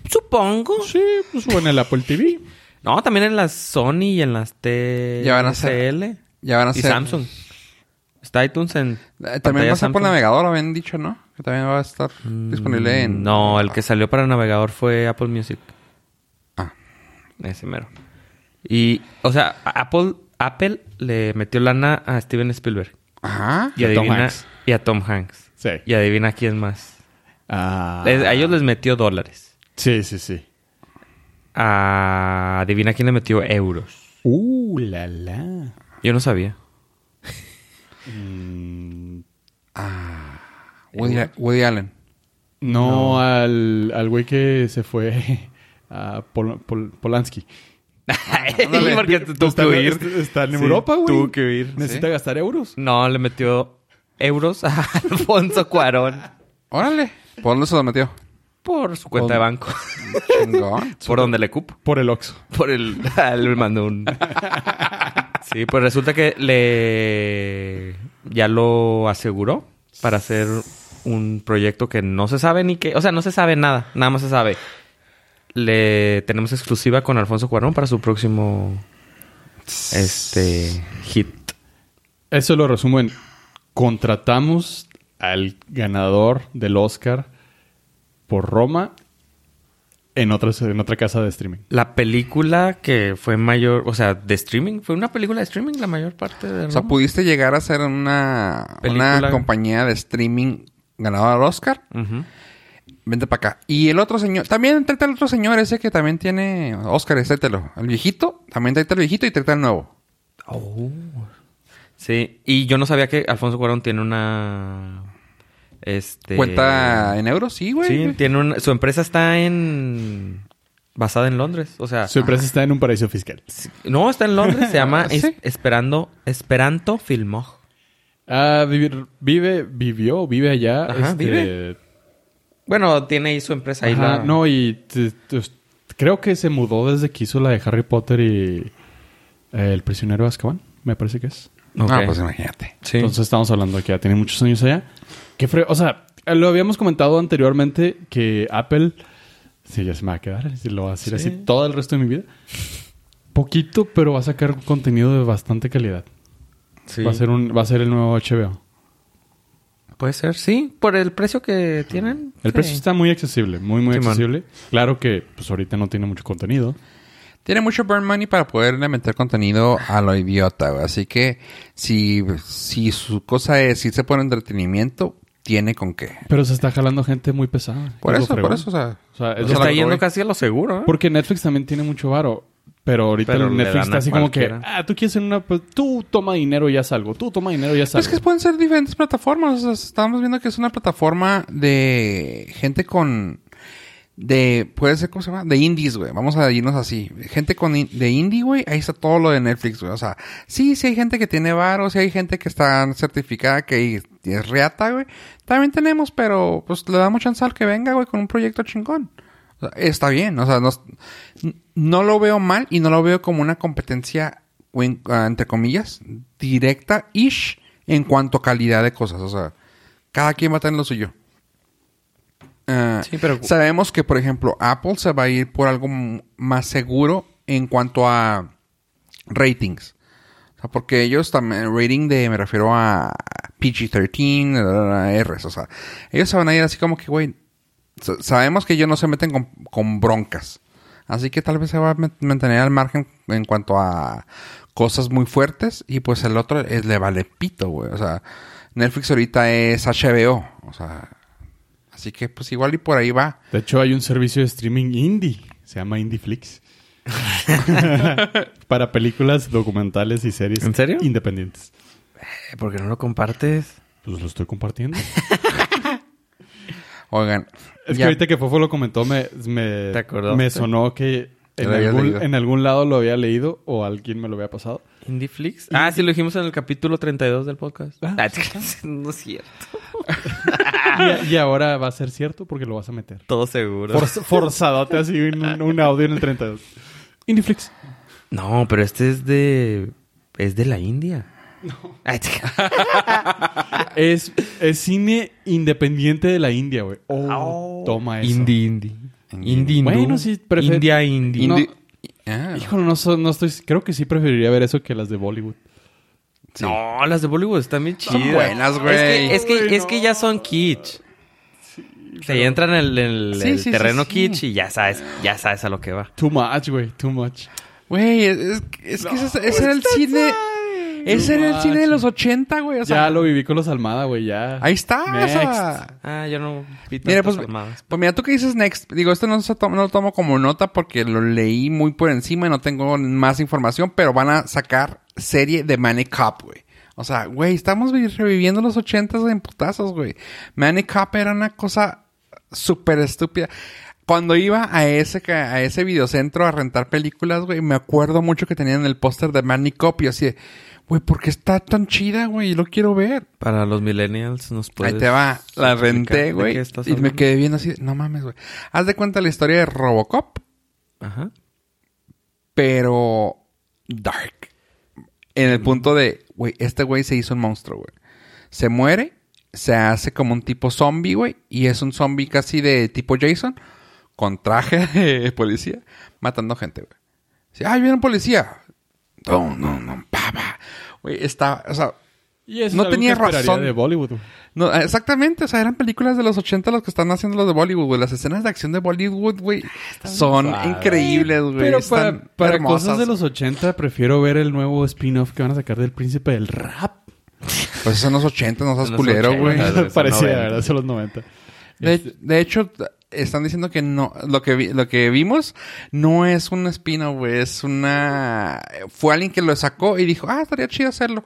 Speaker 3: Supongo.
Speaker 2: Sí, pues bueno, el Apple TV.
Speaker 3: No, también en las Sony y en las T...
Speaker 1: Ya van a ser-
Speaker 3: CL.
Speaker 1: Ya van a
Speaker 3: Y
Speaker 1: ser-
Speaker 3: Samsung. Está iTunes en...
Speaker 1: Eh, También
Speaker 3: pantalla
Speaker 1: va a ser por
Speaker 3: Samsung. Mm,
Speaker 1: navegador, habían dicho, ¿no? Que también va a estar disponible en...
Speaker 3: No, el que salió para navegador fue Apple Music.
Speaker 1: Ah.
Speaker 3: Ese mero. Y, o sea, a- Apple, Apple le metió lana a Steven Spielberg.
Speaker 1: Ajá.
Speaker 3: Y
Speaker 2: a Tom
Speaker 3: adivina,
Speaker 2: Hanks.
Speaker 3: Y a Tom Hanks.
Speaker 2: Sí.
Speaker 3: Y adivina quién más.
Speaker 2: Ah.
Speaker 3: Les- a ellos les metió dólares.
Speaker 2: Sí, sí, sí.
Speaker 3: A, adivina quién le metió euros.
Speaker 2: Uh, la la.
Speaker 3: Yo no sabía.
Speaker 2: Mm,
Speaker 1: Woody,
Speaker 3: Eh,
Speaker 1: Woody Allen.
Speaker 2: no, al al güey que se fue a Pol- Pol- Polanski.
Speaker 1: Ándale.
Speaker 3: Porque tuvo
Speaker 2: Está-
Speaker 3: que huir.
Speaker 2: está- Está en
Speaker 3: Sí,
Speaker 2: Europa, güey.
Speaker 3: Tuvo que huir.
Speaker 2: Necesita
Speaker 1: Sí.
Speaker 2: gastar euros.
Speaker 3: No, le metió euros a Alfonso Cuarón
Speaker 1: Órale. ¿Por dónde se lo metió?
Speaker 3: por su cuenta de banco.
Speaker 1: Chingón.
Speaker 3: por donde le cupo.
Speaker 2: Por el Oxxo.
Speaker 3: Por el... ah, le mandó un... Sí, pues resulta que le... Ya lo aseguró para hacer un proyecto que no se sabe ni qué... O sea, no se sabe nada. Nada más se sabe. Le tenemos exclusiva con Alfonso Cuarón para su próximo... Este... Hit.
Speaker 2: Eso lo resumo en contratamos al ganador del Oscar por Roma en otra, en otra casa de streaming.
Speaker 3: La película que fue mayor... O sea, de streaming. Fue una película de streaming la mayor parte de...
Speaker 1: O sea,
Speaker 3: Roma.
Speaker 1: pudiste llegar a ser una,
Speaker 3: Película.
Speaker 1: una compañía de streaming ganadora del Oscar.
Speaker 3: Ujú.
Speaker 1: Vente para acá. Y el otro señor, también tráete al otro señor ese que también tiene Oscar, tráetelo. El viejito, también tráete al viejito y tráete al nuevo.
Speaker 3: Oh. Sí, y yo no sabía que Alfonso Cuarón tiene una. Este.
Speaker 1: Cuenta en euros, sí, güey.
Speaker 3: Sí, tiene una. Su empresa está en. Basada en Londres. O sea.
Speaker 2: Su empresa está en un paraíso fiscal.
Speaker 3: sí- No, está en Londres. Se llama
Speaker 1: Sí.
Speaker 3: Es- Esperando. Esperanto Filmog.
Speaker 2: Ah, vivir- vive, vivió, vive allá.
Speaker 3: Ajá,
Speaker 2: este,
Speaker 3: vive. Bueno, tiene ahí su empresa ahí.
Speaker 2: ajá,
Speaker 3: la-
Speaker 2: No, y te- te- creo que se mudó desde que hizo la de Harry Potter y eh, El prisionero de Azkaban, me parece que es.
Speaker 3: Ok.
Speaker 1: Ah, pues imagínate.
Speaker 3: Sí.
Speaker 2: Entonces estamos hablando que ya tiene muchos años allá. Que fre- o sea, eh, lo habíamos comentado anteriormente que Apple, sí, ya se me va a quedar, si lo va a decir
Speaker 3: Sí.
Speaker 2: así todo el resto de mi vida. Poquito, pero va a sacar contenido de bastante calidad.
Speaker 3: Sí.
Speaker 2: Va a ser un, va a ser el nuevo HBO.
Speaker 3: Puede ser, sí. Por el precio que tienen.
Speaker 2: El
Speaker 3: sí.
Speaker 2: precio está muy accesible, muy, muy
Speaker 3: Simón.
Speaker 2: accesible. Claro que, pues ahorita no tiene mucho contenido.
Speaker 1: Tiene mucho burn money para poderle meter contenido a lo idiota, güey. Así que si, si su cosa es irse por entretenimiento, tiene con qué.
Speaker 2: Pero se está jalando gente muy pesada.
Speaker 1: Por
Speaker 2: Es lo
Speaker 1: eso, por
Speaker 2: fregón.
Speaker 1: eso, o sea...
Speaker 2: O sea, es
Speaker 1: O
Speaker 2: lo
Speaker 1: sea,
Speaker 3: está
Speaker 1: la-
Speaker 3: yendo casi a lo seguro, ¿eh?
Speaker 2: Porque Netflix también tiene mucho varo. Pero ahorita
Speaker 3: Pero
Speaker 2: el
Speaker 3: le
Speaker 2: Netflix
Speaker 3: dan
Speaker 2: está
Speaker 3: a
Speaker 2: así como que,
Speaker 3: cualquiera.
Speaker 2: ah, tú quieres ser una. pues, Tú toma dinero y haz algo. Tú toma dinero y haz
Speaker 1: Pues Es
Speaker 2: algo.
Speaker 1: que pueden ser diferentes plataformas. O sea, estamos viendo que es una plataforma de gente con... De... Puede ser, ¿cómo se llama? De indies, güey. Vamos a irnos así. Gente con in- de indie, güey. Ahí está todo lo de Netflix, güey. O sea, sí, sí hay gente que tiene varo. Sí hay gente que está certificada que es reata, güey. También tenemos, pero pues le damos chance al que venga, güey, con un proyecto chingón. O sea, está bien. O sea, no, no lo veo mal y no lo veo como una competencia, o en- ah, entre comillas, directa-ish en cuanto a calidad de cosas. O sea, cada quien va a tener lo suyo. Ah,
Speaker 3: Sí, pero-
Speaker 1: Sabemos que, por ejemplo, Apple se va a ir por algo m- más seguro en cuanto a ratings. O sea, porque ellos también, rating de, me refiero a PG-13, la, la, la, R's, o sea, ellos se van a ir así como que, güey, sa- sabemos que ellos no se meten con, con broncas. Así que tal vez se va a man- mantener al margen en cuanto a cosas muy fuertes y pues el otro es, le vale pito, güey. O sea, Netflix ahorita es HBO, o sea, así que pues igual y por ahí va.
Speaker 2: De hecho, hay un servicio de streaming indie. Se llama IndieFlix. Para películas, documentales y series.
Speaker 3: ¿En serio?
Speaker 2: Independientes.
Speaker 3: Eh, Porque no lo compartes.
Speaker 2: Pues lo estoy compartiendo.
Speaker 1: Oigan,
Speaker 2: Es que
Speaker 1: ya-
Speaker 2: ahorita que Fofo lo comentó, me, me,
Speaker 3: ¿Te acordaste?
Speaker 2: me sonó que
Speaker 1: Ya
Speaker 2: en
Speaker 1: lo habías
Speaker 2: algún,
Speaker 1: leído.
Speaker 2: en algún lado lo había leído o alguien me lo había pasado.
Speaker 3: Indieflix. Ah, sí, lo dijimos en el capítulo 32 del podcast.
Speaker 2: Ah,
Speaker 3: Ah, no es cierto.
Speaker 2: Y, y ahora va a ser cierto porque lo vas a meter.
Speaker 3: Todo seguro.
Speaker 2: Forz- forzadote así un, un audio en el 32. Indiflix.
Speaker 3: No, pero este es de. Es de la India. Ah, No.
Speaker 2: Es, es cine independiente de la India, güey. Oh,
Speaker 3: Oh.
Speaker 2: toma eso.
Speaker 3: Indie, indie. Indie, hindú.
Speaker 2: Bueno, sí, prefiero-
Speaker 3: India, indie.
Speaker 1: Indi-
Speaker 2: No.
Speaker 1: Ah,
Speaker 2: Híjole, no, so- no estoy... Creo que sí preferiría ver eso que las de Bollywood.
Speaker 1: sí.
Speaker 3: No, las de Bollywood están bien chidas.
Speaker 1: Son buenas, güey.
Speaker 3: Es que, es
Speaker 2: Güey,
Speaker 3: que, es que ya son kitsch. Se entran en el, en el-
Speaker 1: Sí,
Speaker 3: el
Speaker 1: sí, sí,
Speaker 3: terreno
Speaker 1: sí.
Speaker 3: kitsch y ya sabes, ya sabes a lo que va.
Speaker 2: Too much, güey. Too much.
Speaker 1: Güey, es, es que- es que ese, ese era el cine. Ese era el cine de los 80, güey. O sea,
Speaker 2: ya lo viví con los Almada, güey. Ya.
Speaker 1: ahí está. o
Speaker 2: Next.
Speaker 1: sea.
Speaker 3: Ah, yo no vi
Speaker 1: Mira,
Speaker 3: tantas
Speaker 1: pues,
Speaker 3: mamadas.
Speaker 1: pues mira, tú que dices next. Digo, esto no, se to- no lo tomo como nota porque lo leí muy por encima y no tengo más información, pero van a sacar serie de Manic Cop, güey. O sea, güey, estamos vi- reviviendo los ochentas en putazos, güey. Manic Cop era una cosa súper estúpida. Cuando iba a ese, ca- a ese videocentro a rentar películas, güey, me acuerdo mucho que tenían el póster de Manic Cop y yo así, de, güey, ¿por qué está tan chida, güey? Yo lo quiero ver.
Speaker 3: Para los millennials nos puedes...
Speaker 1: Ahí te va. La
Speaker 3: explicar de
Speaker 1: renté, güey.
Speaker 3: qué estás
Speaker 1: Y me
Speaker 3: hablando?
Speaker 1: quedé viendo así. No mames, güey. Haz de cuenta la historia de Robocop,
Speaker 3: Ajá.
Speaker 1: pero dark. En
Speaker 3: Mm.
Speaker 1: el punto de, güey, este güey se hizo un monstruo, güey. Se muere, se hace como un tipo zombie, güey. Y es un zombie casi de tipo Jason, con traje de policía, matando gente, güey. Sí, ah, viene un policía. No, no, no, pa, pa. Güey, está, o sea,
Speaker 2: Y eso
Speaker 1: No
Speaker 2: es algo
Speaker 1: tenía
Speaker 2: que esperaría
Speaker 1: razón.
Speaker 2: de Bollywood, güey.
Speaker 1: No, ah, exactamente, o sea, eran películas de los 80 las que están haciendo los de Bollywood, güey. Las escenas de acción de Bollywood, güey, son
Speaker 2: suaves.
Speaker 1: increíbles, güey.
Speaker 2: Pero
Speaker 1: Están
Speaker 2: para, para
Speaker 1: hermosas.
Speaker 2: cosas de los 80 prefiero ver el nuevo spin-off que van a sacar del Príncipe del Rap.
Speaker 1: Pues son los 80, no seas
Speaker 3: Son los
Speaker 1: culero,
Speaker 3: 80,
Speaker 1: güey.
Speaker 3: Claro, son
Speaker 2: Parecía,
Speaker 3: 90.
Speaker 2: ¿verdad? Son los 90.
Speaker 1: De, de hecho, t- están diciendo que no, lo que, vi- lo que vimos no es un espino, güey, es una... Fue alguien que lo sacó y dijo, ah, estaría chido hacerlo.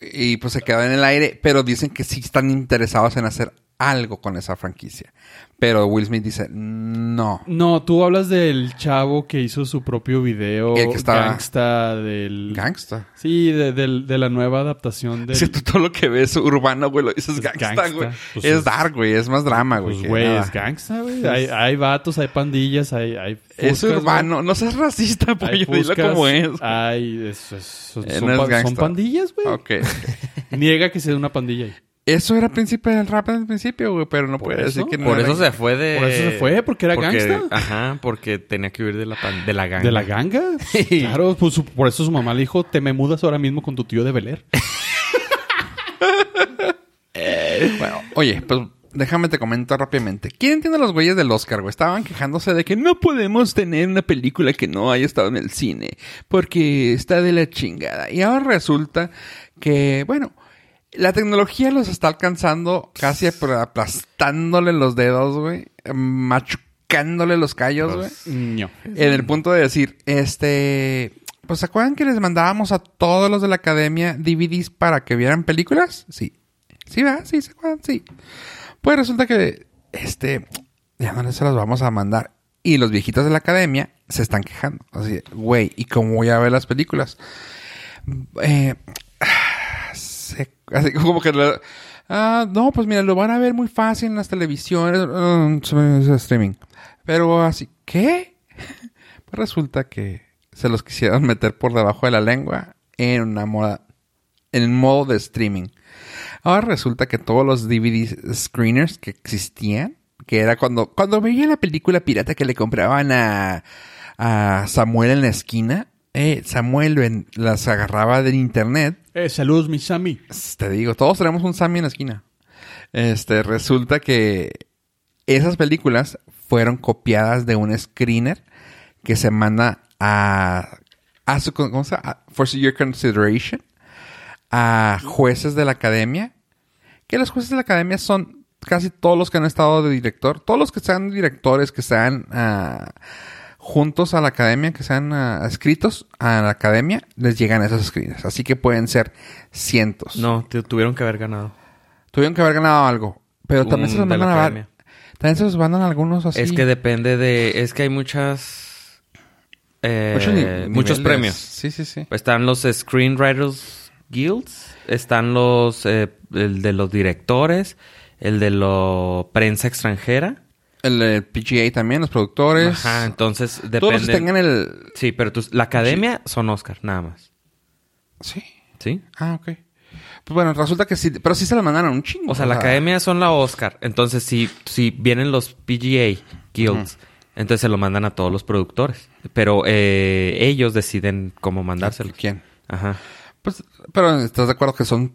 Speaker 1: Y pues se quedó en el aire, pero dicen que sí están interesados en hacer algo con esa franquicia. Pero Will Smith dice, no.
Speaker 2: No, tú hablas del chavo que hizo su propio video.
Speaker 1: El que estaba-
Speaker 2: Gangsta
Speaker 3: Mm.
Speaker 2: del...
Speaker 1: Gangsta.
Speaker 2: Sí, de, del- de la nueva adaptación del...
Speaker 1: Si tú todo lo que ves urbano, güey, lo dices
Speaker 2: Es
Speaker 1: gangsta,
Speaker 2: gangsta.
Speaker 1: güey.
Speaker 2: Pues
Speaker 1: es
Speaker 2: es-
Speaker 1: dark, güey. Es más drama, güey.
Speaker 2: Pues,
Speaker 1: que
Speaker 2: güey,
Speaker 1: nada.
Speaker 2: es gangsta, güey. Hay, hay vatos, hay pandillas, hay... hay
Speaker 1: Es
Speaker 2: fuscas,
Speaker 1: urbano. No seas racista,
Speaker 2: güey. Hay
Speaker 1: pollo. Dilo
Speaker 2: fuscas,
Speaker 1: como es.
Speaker 2: Hay... es- es- son,
Speaker 1: Eh, no es
Speaker 2: pa- son
Speaker 1: gangsta.
Speaker 2: pandillas, güey.
Speaker 1: Ok.
Speaker 2: Niega que sea una pandilla. ahí.
Speaker 1: Eso era príncipe del rap al principio, güey. Pero no
Speaker 2: ¿Por
Speaker 1: puede decir
Speaker 2: eso?
Speaker 1: que no
Speaker 3: Por
Speaker 1: era
Speaker 3: eso se fue de...
Speaker 2: Por eso se fue, porque era gangsta.
Speaker 3: Ajá, porque tenía que huir de la, pan- de la ganga.
Speaker 2: ¿De la ganga? Claro, pues, su- por eso su mamá le dijo, te me mudas ahora mismo con tu tío de Beler.
Speaker 1: Bueno, oye, pues déjame te comento rápidamente. ¿Quién entiende los güeyes del Oscar, güey? Estaban quejándose de que no podemos tener una película que no haya estado en el cine porque está de la chingada. Y ahora resulta que, bueno, la tecnología los está alcanzando casi apl- aplastándole los dedos, güey, machucándole los callos, güey.
Speaker 2: No.
Speaker 1: En el punto de decir, este. Pues ¿se acuerdan que les mandábamos a todos los de la academia DVDs para que vieran películas? Sí. Sí, ¿verdad? Sí, ¿se acuerdan? Sí. Pues resulta que, este, ya no se los vamos a mandar. Y los viejitos de la academia se están quejando. Así, güey, ¿y cómo voy a ver las películas? Eh, se- así como que... la- ah, no, pues mira, lo van a ver muy fácil en las televisiones, mm, es streaming. Pero así, ¿qué? Pues resulta que se los quisieron meter por debajo de la lengua en una moda, en un modo de streaming. Ahora resulta que todos los DVD screeners que existían, que era cuando, cuando veía la película pirata que le compraban a, a Samuel en la esquina, eh, Samuel ven- las agarraba del internet
Speaker 2: Eh, saludos, mi Sammy.
Speaker 1: te digo, todos tenemos un Sammy en la esquina. Este, resulta que esas películas fueron copiadas de un screener que se manda a, a su, ¿cómo se llama? A- For your consideration, a jueces de la academia. Que los jueces de la academia son casi todos los que han estado de director, todos los que sean directores, que sean ah, juntos a la academia, que sean ah, adscritos a la academia, les llegan esos screeners. Así que pueden ser cientos.
Speaker 3: No, te- tuvieron que haber ganado.
Speaker 1: Tuvieron que haber ganado algo. Pero también se los
Speaker 3: Un- de la
Speaker 1: mandan a
Speaker 3: academia.
Speaker 1: También se los mandan algunos así.
Speaker 3: Es que depende de... Es que hay muchas... eh,
Speaker 1: Muchos
Speaker 3: muchos
Speaker 1: ni- niveles.
Speaker 3: premios.
Speaker 1: Sí, sí, sí.
Speaker 3: Están los Screenwriters Guilds. Están los... eh, el de los directores. El de la prensa extranjera.
Speaker 1: El, eh, PGA también, los productores.
Speaker 3: Ajá, entonces
Speaker 1: Pues,
Speaker 3: depende...
Speaker 1: Todos los que tengan el.
Speaker 3: Sí, pero tus- la academia son Oscar, nada más.
Speaker 1: Sí.
Speaker 3: ¿Sí?
Speaker 1: Ah, ok. Pues bueno, resulta que sí. Pero sí se los mandaron un chingo.
Speaker 3: O sea, la academia son la Oscar. Entonces, si, si vienen los PGA Guilds, entonces se lo mandan a todos los productores. Pero eh, ellos deciden cómo mandárselos.
Speaker 1: ¿Quién?
Speaker 3: Ajá.
Speaker 1: Pues, pero estás de acuerdo que son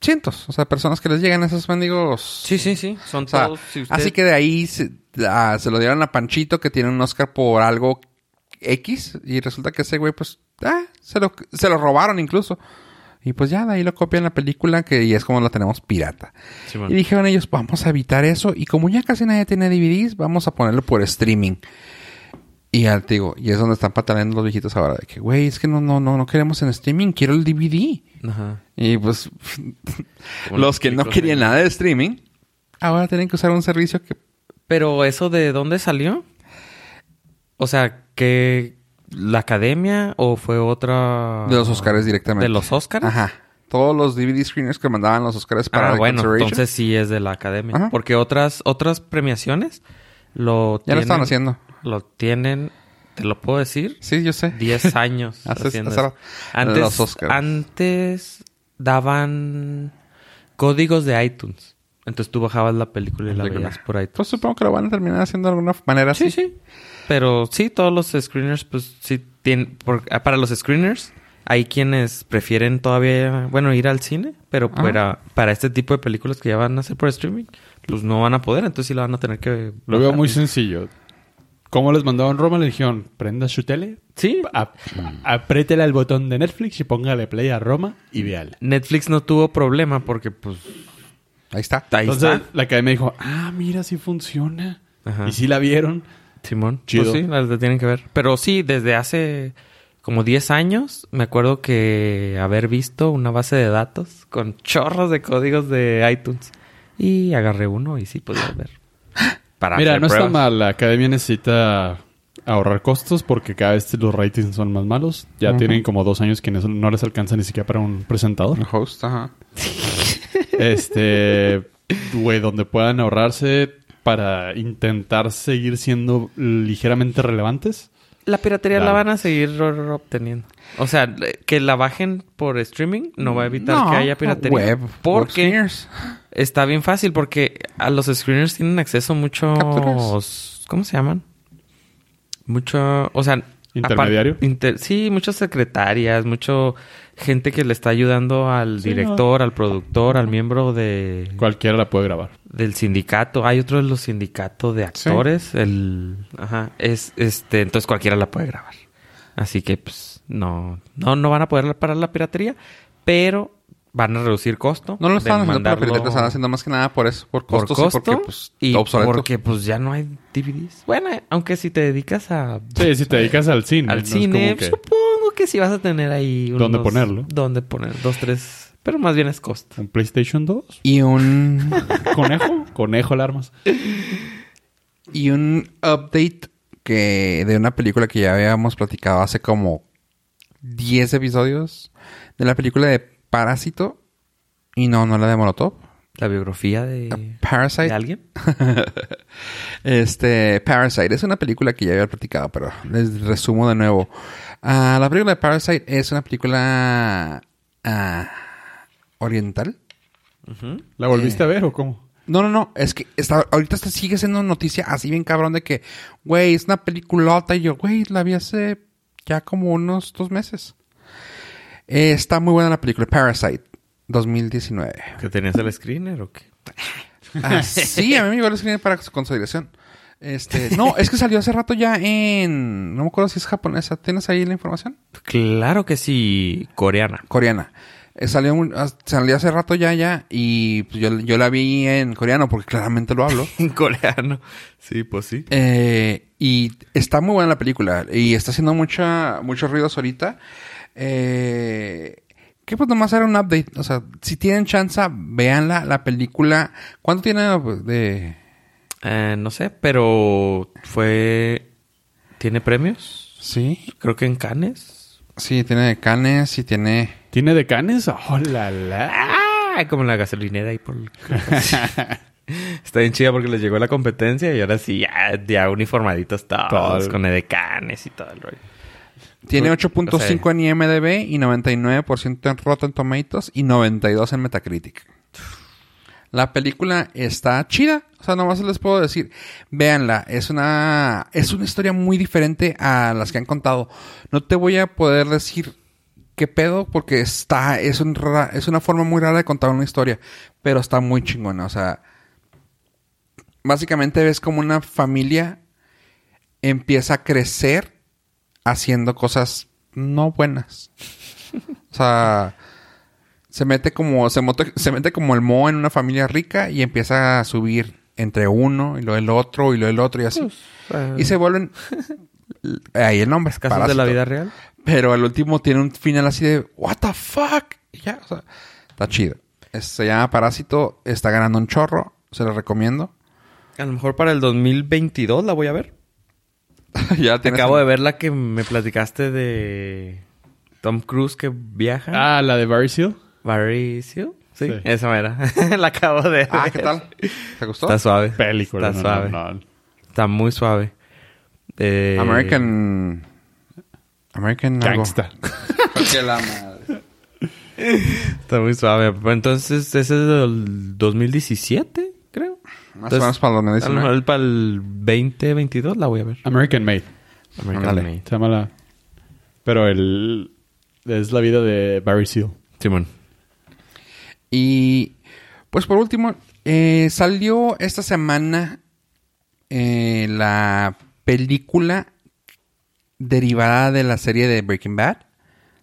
Speaker 1: cientos. O sea, personas que les llegan esos mendigos.
Speaker 3: Sí, sí, sí. Son
Speaker 1: O sea,
Speaker 3: todos. si usted-
Speaker 1: Así que de ahí se, ah, se lo dieron a Panchito que tiene un Oscar por algo X y resulta que ese güey pues ah, se, lo, se lo robaron incluso. Y pues ya de ahí lo copian la película que y es como la tenemos pirata.
Speaker 3: Sí, bueno.
Speaker 1: Y dijeron ellos, vamos a evitar eso y como ya casi nadie tiene DVDs, vamos a ponerlo por streaming. Y al te digo, y es donde están pataleando los viejitos ahora de que, güey, es que no no no no queremos en streaming, quiero el DVD.
Speaker 3: Ajá.
Speaker 1: Y pues
Speaker 3: Como
Speaker 1: los que no
Speaker 3: chicos,
Speaker 1: querían
Speaker 3: eh.
Speaker 1: nada de streaming, ahora tienen que usar un servicio que...
Speaker 3: Pero eso de dónde salió? O sea, que la academia o fue otra
Speaker 1: Ah, De los Oscars directamente.
Speaker 3: ¿De los Oscars?
Speaker 1: Ajá. Todos los DVD screeners que mandaban los Oscars para
Speaker 3: Ah,
Speaker 1: The
Speaker 3: bueno,
Speaker 1: Consideration,
Speaker 3: entonces sí es de la academia.
Speaker 1: Ajá.
Speaker 3: Porque otras, otras premiaciones lo
Speaker 1: Ya lo estaban
Speaker 3: tienen-
Speaker 1: haciendo.
Speaker 3: Lo tienen, te lo puedo decir,
Speaker 1: Sí, yo sé.
Speaker 3: 10 años
Speaker 1: Hace-
Speaker 3: haciendo
Speaker 1: hace
Speaker 3: eso.
Speaker 1: rato.
Speaker 3: Antes,
Speaker 1: Los Oscars.
Speaker 3: antes daban códigos de iTunes. Entonces tú bajabas la película y la
Speaker 1: Película.
Speaker 3: veías por iTunes.
Speaker 1: Pues supongo que lo van a terminar haciendo de alguna manera
Speaker 3: Sí,
Speaker 1: así.
Speaker 3: sí. Pero sí, todos los screeners, pues sí tienen. por- ah, para los screeners, hay quienes prefieren todavía, bueno, ir al cine, pero
Speaker 1: Ajá.
Speaker 3: para, para este tipo de películas que ya van a hacer por streaming, pues no van a poder, entonces sí la van a tener que.
Speaker 2: Lo veo
Speaker 3: bajar.
Speaker 2: muy sencillo. Como les mandaban Roma, le dijeron, prenda su tele,
Speaker 3: Sí.
Speaker 2: ap-
Speaker 3: Mm.
Speaker 2: apriétele al botón de Netflix y póngale play a Roma y véale.
Speaker 3: Netflix no tuvo problema porque, pues.
Speaker 1: Ahí está.
Speaker 3: Ahí
Speaker 2: Entonces
Speaker 3: está.
Speaker 2: la academia dijo, ah, mira, sí funciona.
Speaker 3: Ajá.
Speaker 2: Y sí la vieron.
Speaker 3: Simón.
Speaker 2: Chido.
Speaker 3: Pues sí, las de- tienen que ver. Pero sí, desde hace como 10 años, me acuerdo que haber visto una base de datos con chorros de códigos de iTunes. Y agarré uno y sí podía ver. Para
Speaker 2: Mira,
Speaker 3: hacer
Speaker 2: no está
Speaker 3: pruebas.
Speaker 2: mal. La academia necesita ahorrar costos porque cada vez los ratings son más malos. Ya
Speaker 1: Ujú.
Speaker 2: tienen como dos años que no- no les alcanza ni siquiera para un presentador.
Speaker 1: El host, ajá.
Speaker 2: Este, güey, donde puedan ahorrarse para intentar seguir siendo ligeramente relevantes.
Speaker 3: La piratería la
Speaker 2: Claro.
Speaker 3: van a seguir ro- ro- obteniendo. O sea, le- que la bajen por streaming no va a evitar
Speaker 1: No,
Speaker 3: que haya piratería.
Speaker 1: Web. web
Speaker 3: porque
Speaker 1: screeners.
Speaker 3: Está bien fácil porque a los screeners tienen acceso muchos...
Speaker 1: Capturas.
Speaker 3: ¿Cómo se llaman? Mucho... O sea,
Speaker 2: Intermediario.
Speaker 3: Apar- inter- sí, muchas secretarias, mucho gente que le está ayudando al
Speaker 2: Sí,
Speaker 3: director, al productor, al miembro de
Speaker 2: Cualquiera la puede grabar.
Speaker 3: del sindicato. Hay otro de los sindicatos de
Speaker 4: Sí.
Speaker 3: actores, el ajá, es este, entonces cualquiera la puede grabar. Así que pues no no no van a poder parar la piratería, pero van a reducir costo.
Speaker 1: No lo están
Speaker 3: de
Speaker 1: haciendo por
Speaker 3: mandarlo
Speaker 1: piratas, están haciendo más que nada por eso, por
Speaker 3: por
Speaker 1: costos
Speaker 3: costo
Speaker 1: y porque pues
Speaker 3: y
Speaker 1: está obsoleto.
Speaker 3: porque pues ya no hay DVDs. Bueno, eh, aunque si te dedicas a
Speaker 2: Sí, si te dedicas al cine. no
Speaker 3: al
Speaker 2: es
Speaker 3: cine, pues,
Speaker 2: como que-
Speaker 3: supongo que sí vas a tener ahí unos,
Speaker 2: ¿Dónde ponerlo?
Speaker 3: Dónde poner dos, tres, pero más bien es costo.
Speaker 2: ¿Un PlayStation 2?
Speaker 1: Y un
Speaker 2: ¿Conejo? Conejo alarmas.
Speaker 1: y un update que de una película que ya habíamos platicado hace como 10 episodios de la película de Parásito y no, no la de Molotov.
Speaker 3: La biografía de, de
Speaker 1: Parasite.
Speaker 3: alguien.
Speaker 1: Este, Parasite es una película que ya había platicado, pero les resumo de nuevo. Ah, la película de Parasite es una película ah, oriental.
Speaker 2: ¿La volviste a ver o cómo?
Speaker 1: No, no, no, es que está, ahorita está- sigue siendo noticia así bien cabrón de que, güey, es una peliculota y yo, güey, la vi hace ya como unos dos meses. Eh, está muy buena la película, Parasite, 2019.
Speaker 3: ¿Que tenías el screener o qué?
Speaker 1: Ah, sí, a mí me llegó el screener para su consolidación. Este, no, es que salió hace rato ya en. No me acuerdo si es japonesa. ¿Tienes ahí la información?
Speaker 3: Claro que sí, coreana.
Speaker 1: Coreana. Eh, salió, un- as- salió hace rato ya, ya. Y pues, yo, yo la vi en coreano porque claramente lo hablo.
Speaker 3: En coreano. Sí, pues sí.
Speaker 1: Eh, y está muy buena la película. Y está haciendo mucha, muchos ruidos ahorita. Eh, que pues nomás era un update. O sea, si tienen chance, véanla, la película. ¿Cuánto tiene pues, de.?
Speaker 3: Eh, no sé, pero fue... ¿Tiene premios?
Speaker 1: Sí.
Speaker 3: Creo que en Cannes.
Speaker 1: Sí, tiene canes y tiene...
Speaker 2: ¿Tiene de canes? ¡Oh, la, la!
Speaker 3: ¡Ah! Como en la gasolinera y por... Está bien chida porque les llegó la competencia y ahora sí, ya, ya uniformaditos todos,
Speaker 2: Todo.
Speaker 3: con edecanes y todo el rollo.
Speaker 1: Tiene
Speaker 3: O-
Speaker 1: 8.5
Speaker 3: o
Speaker 1: en IMDb y 99% en Rotten Tomatoes y 92 en Metacritic. La película está chida. O sea, nomás les puedo decir, véanla. Es una, es una historia muy diferente a las que han contado. No te voy a poder decir qué pedo porque está, es, un ra- es una forma muy rara de contar una historia. Pero está muy chingona. O sea, básicamente ves como una familia empieza a crecer haciendo cosas no buenas. O sea, se mete como se, mote- se mete como el mo en una familia rica y empieza a subir entre uno y lo el otro y lo el otro y así. y se vuelven ahí el nombre,
Speaker 3: Los casos de
Speaker 1: Parásito.
Speaker 3: la vida real.
Speaker 1: Pero al último tiene un final así de what the fuck. Y ya, o sea, está chido. Es- se llama Parásito, está ganando un chorro, se lo recomiendo.
Speaker 3: A lo mejor para el 2022 la voy a ver. este
Speaker 1: ya tienes-
Speaker 3: Acabo de ver la que me platicaste de Tom Cruise que viaja.
Speaker 2: Ah, la de Barry Seal.
Speaker 3: Varicio. Sí,
Speaker 2: Sí.
Speaker 3: esa era. la acabo de ver.
Speaker 1: Ah, ¿qué tal? ¿Te gustó?
Speaker 3: Está suave.
Speaker 2: Película.
Speaker 3: Está
Speaker 2: no,
Speaker 3: suave.
Speaker 2: no, no.
Speaker 3: Está muy suave. Eh,
Speaker 1: American. American. algo.
Speaker 2: Gangsta.
Speaker 1: Que la madre.
Speaker 3: Está muy suave. Pero Entonces, ese es del 2017, creo.
Speaker 1: Más o menos para el
Speaker 3: A lo
Speaker 1: 2019.
Speaker 3: mejor para el 2022 la voy a ver.
Speaker 2: American Made.
Speaker 3: American
Speaker 1: Ándale.
Speaker 3: Made.
Speaker 2: Se llama la... Pero el... Es la vida de Barry Seal.
Speaker 3: Simón.
Speaker 1: Y pues por último, eh, salió esta semana eh, la película derivada de la serie de Breaking Bad.